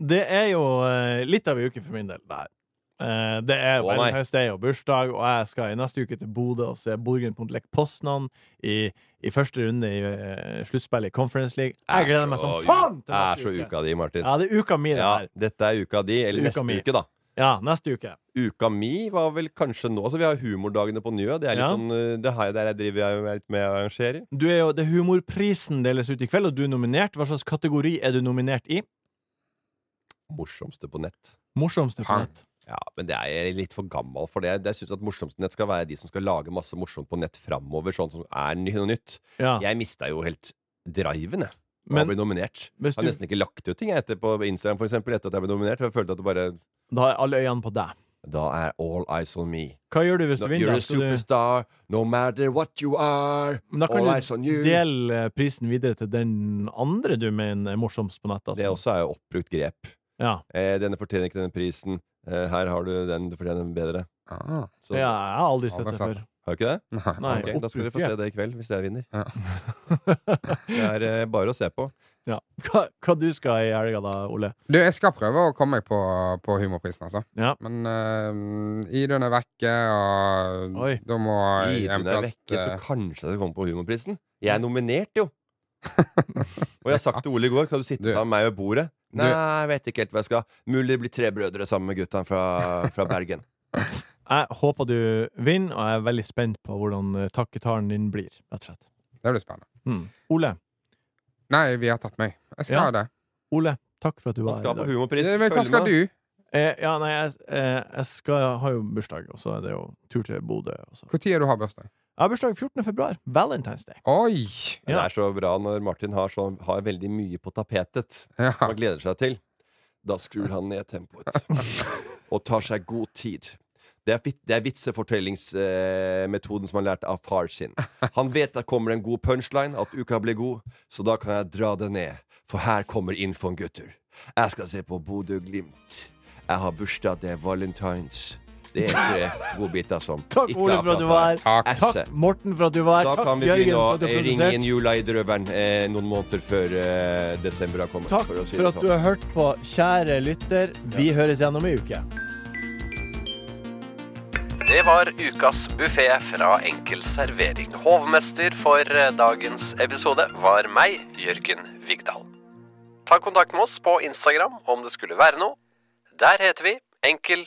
Speaker 2: Det er jo eh, litt av en uke for min del. Nei. Eh, det er
Speaker 3: Å, nei.
Speaker 2: Valentine's Day og bursdag, og jeg skal i neste uke til Bodø og se Borgenpunkt-Lek Poznan i, i første runde i eh, sluttspillet i Conference League. Jeg gleder meg som faen til
Speaker 3: Er så
Speaker 2: neste uke!
Speaker 3: uka di, Martin.
Speaker 2: Ja, det er uka mi, det
Speaker 3: Ja,
Speaker 2: her.
Speaker 3: dette er uka di, eller
Speaker 2: Uka
Speaker 3: neste
Speaker 2: mi.
Speaker 3: uke, da.
Speaker 2: Ja, neste uke.
Speaker 3: Uka mi var vel kanskje nå, så vi har humordagene på Njø. Det er litt
Speaker 2: Ja.
Speaker 3: sånn, eh, det her der jeg driver jeg med litt med og arrangerer.
Speaker 2: Du er jo, det er Humorprisen deles ut i kveld, og du er nominert. Hva slags kategori er du nominert i?
Speaker 3: Morsomste på nett.
Speaker 2: Morsomste på
Speaker 4: Pang.
Speaker 2: nett.
Speaker 3: Ja, men det er jeg litt for gammel for det. Jeg syns at morsomste nett skal være de som skal lage masse morsomt på nett framover, sånn som er ny- noe nytt.
Speaker 2: Ja.
Speaker 3: Jeg mista jo helt driven, jeg. Men,
Speaker 2: Men-
Speaker 3: å bli nominert.
Speaker 2: Hvis
Speaker 3: Jeg har
Speaker 2: du-
Speaker 3: nesten ikke lagt ut ting jeg etter på Instagram for eksempel, etter at jeg ble nominert. For jeg følte at det bare
Speaker 2: Da er alle øynene på deg.
Speaker 3: Da er all eyes on me.
Speaker 2: Hva gjør du hvis
Speaker 3: No,
Speaker 2: du
Speaker 3: you're
Speaker 2: vinner?
Speaker 3: a
Speaker 2: Skal
Speaker 3: superstar, no matter what you are.
Speaker 2: du, da
Speaker 3: all eyes on
Speaker 2: kan
Speaker 3: you.
Speaker 2: du dele prisen videre til den andre du mener er morsomst på nett.
Speaker 3: Det
Speaker 2: Altså.
Speaker 3: også er jo oppbrukt grep.
Speaker 2: Ja.
Speaker 3: Eh, denne fortjener ikke denne prisen. Eh, her har du den, du fortjener den bedre.
Speaker 4: Ah,
Speaker 3: Så,
Speaker 2: ja, jeg har aldri sett
Speaker 4: Aldri
Speaker 2: det
Speaker 4: sett
Speaker 2: før.
Speaker 3: Har du ikke det?
Speaker 4: nei.
Speaker 2: Nei,
Speaker 3: Ok, da skal dere få
Speaker 2: oppbrukt
Speaker 3: se det i kveld, hvis jeg vinner.
Speaker 4: Ja.
Speaker 3: Det er eh, bare å se på.
Speaker 2: Ja. Hva, hva du skal i helga da, Ole?
Speaker 4: Du, jeg skal prøve å komme meg på, på humorprisen, altså.
Speaker 2: Ja.
Speaker 4: Men uh, Idun er vekke, og
Speaker 2: Oi.
Speaker 4: da må jeg
Speaker 3: Idun er
Speaker 4: eventuelt
Speaker 3: vekke, så
Speaker 4: eh,
Speaker 3: kanskje det kommer på Humorprisen. Jeg er nominert, jo! Og jeg har sagt til Ole i går Kan du sitte
Speaker 4: Du-
Speaker 3: sammen med meg ved bordet.
Speaker 4: Du-
Speaker 3: Nei, jeg vet ikke helt hva jeg skal. Mulig det blir tre brødre sammen med gutta fra, fra Bergen.
Speaker 2: Jeg håper du vinner, og jeg er veldig spent på hvordan eh, takketalen din blir. Rett og slett.
Speaker 4: Det blir spennende.
Speaker 2: Mm. Ole,
Speaker 4: Nei, vi har tatt meg. Jeg skal
Speaker 2: Ja.
Speaker 4: det.
Speaker 2: Ole, takk for at du
Speaker 3: Han
Speaker 2: var her.
Speaker 3: skal
Speaker 2: i
Speaker 3: på
Speaker 2: dag.
Speaker 3: Humorprisen.
Speaker 4: Eh, Men hva
Speaker 3: Følg
Speaker 4: skal
Speaker 3: med.
Speaker 4: du?
Speaker 2: Eh, ja, nei, jeg, eh, jeg skal, har jo bursdag, og så er det jo tur til Bodø. og så-
Speaker 4: Når har du har bursdag?
Speaker 2: Jeg har bursdag 14. februar. Valentine's Day.
Speaker 4: Oi!
Speaker 3: Det
Speaker 2: Ja.
Speaker 3: er så bra når Martin har, så, har veldig mye på tapetet.
Speaker 4: Ja.
Speaker 3: Som han gleder seg til. Da skrur han ned tempoet. Og tar seg god tid. Det er, vit, det er vitsefortellingsmetoden eh, metoden som han lærte av far sin. Han vet at kommer en god punchline, at uka blir god, så da kan jeg dra det ned. For her kommer infoen, gutter. Jeg skal se på Bodø-Glimt. Jeg har bursdag, det er valentines. Det er tre godbiter som
Speaker 2: Takk,
Speaker 3: ikke
Speaker 2: Ole,
Speaker 3: har
Speaker 2: for at du
Speaker 3: pratet.
Speaker 2: var her.
Speaker 4: Takk.
Speaker 2: Takk, Morten, for at du var
Speaker 3: Da
Speaker 2: her.
Speaker 3: kan
Speaker 2: Takk,
Speaker 3: vi begynne
Speaker 2: Jørgen,
Speaker 3: å
Speaker 2: for at du har
Speaker 3: ringe
Speaker 2: produsert.
Speaker 3: inn jula i drøveren eh, noen måneder før eh, desember har kommet.
Speaker 2: Takk
Speaker 3: for å si
Speaker 2: for
Speaker 3: det
Speaker 2: at du
Speaker 3: sånn.
Speaker 2: har hørt på, kjære lytter. Vi høres igjen om ei uke.
Speaker 9: Det var ukas buffé fra Enkel servering. Hovmester for eh, dagens episode var meg, Jørgen Vigdal. Ta kontakt med oss på Instagram om det skulle være noe. Der heter vi Enkel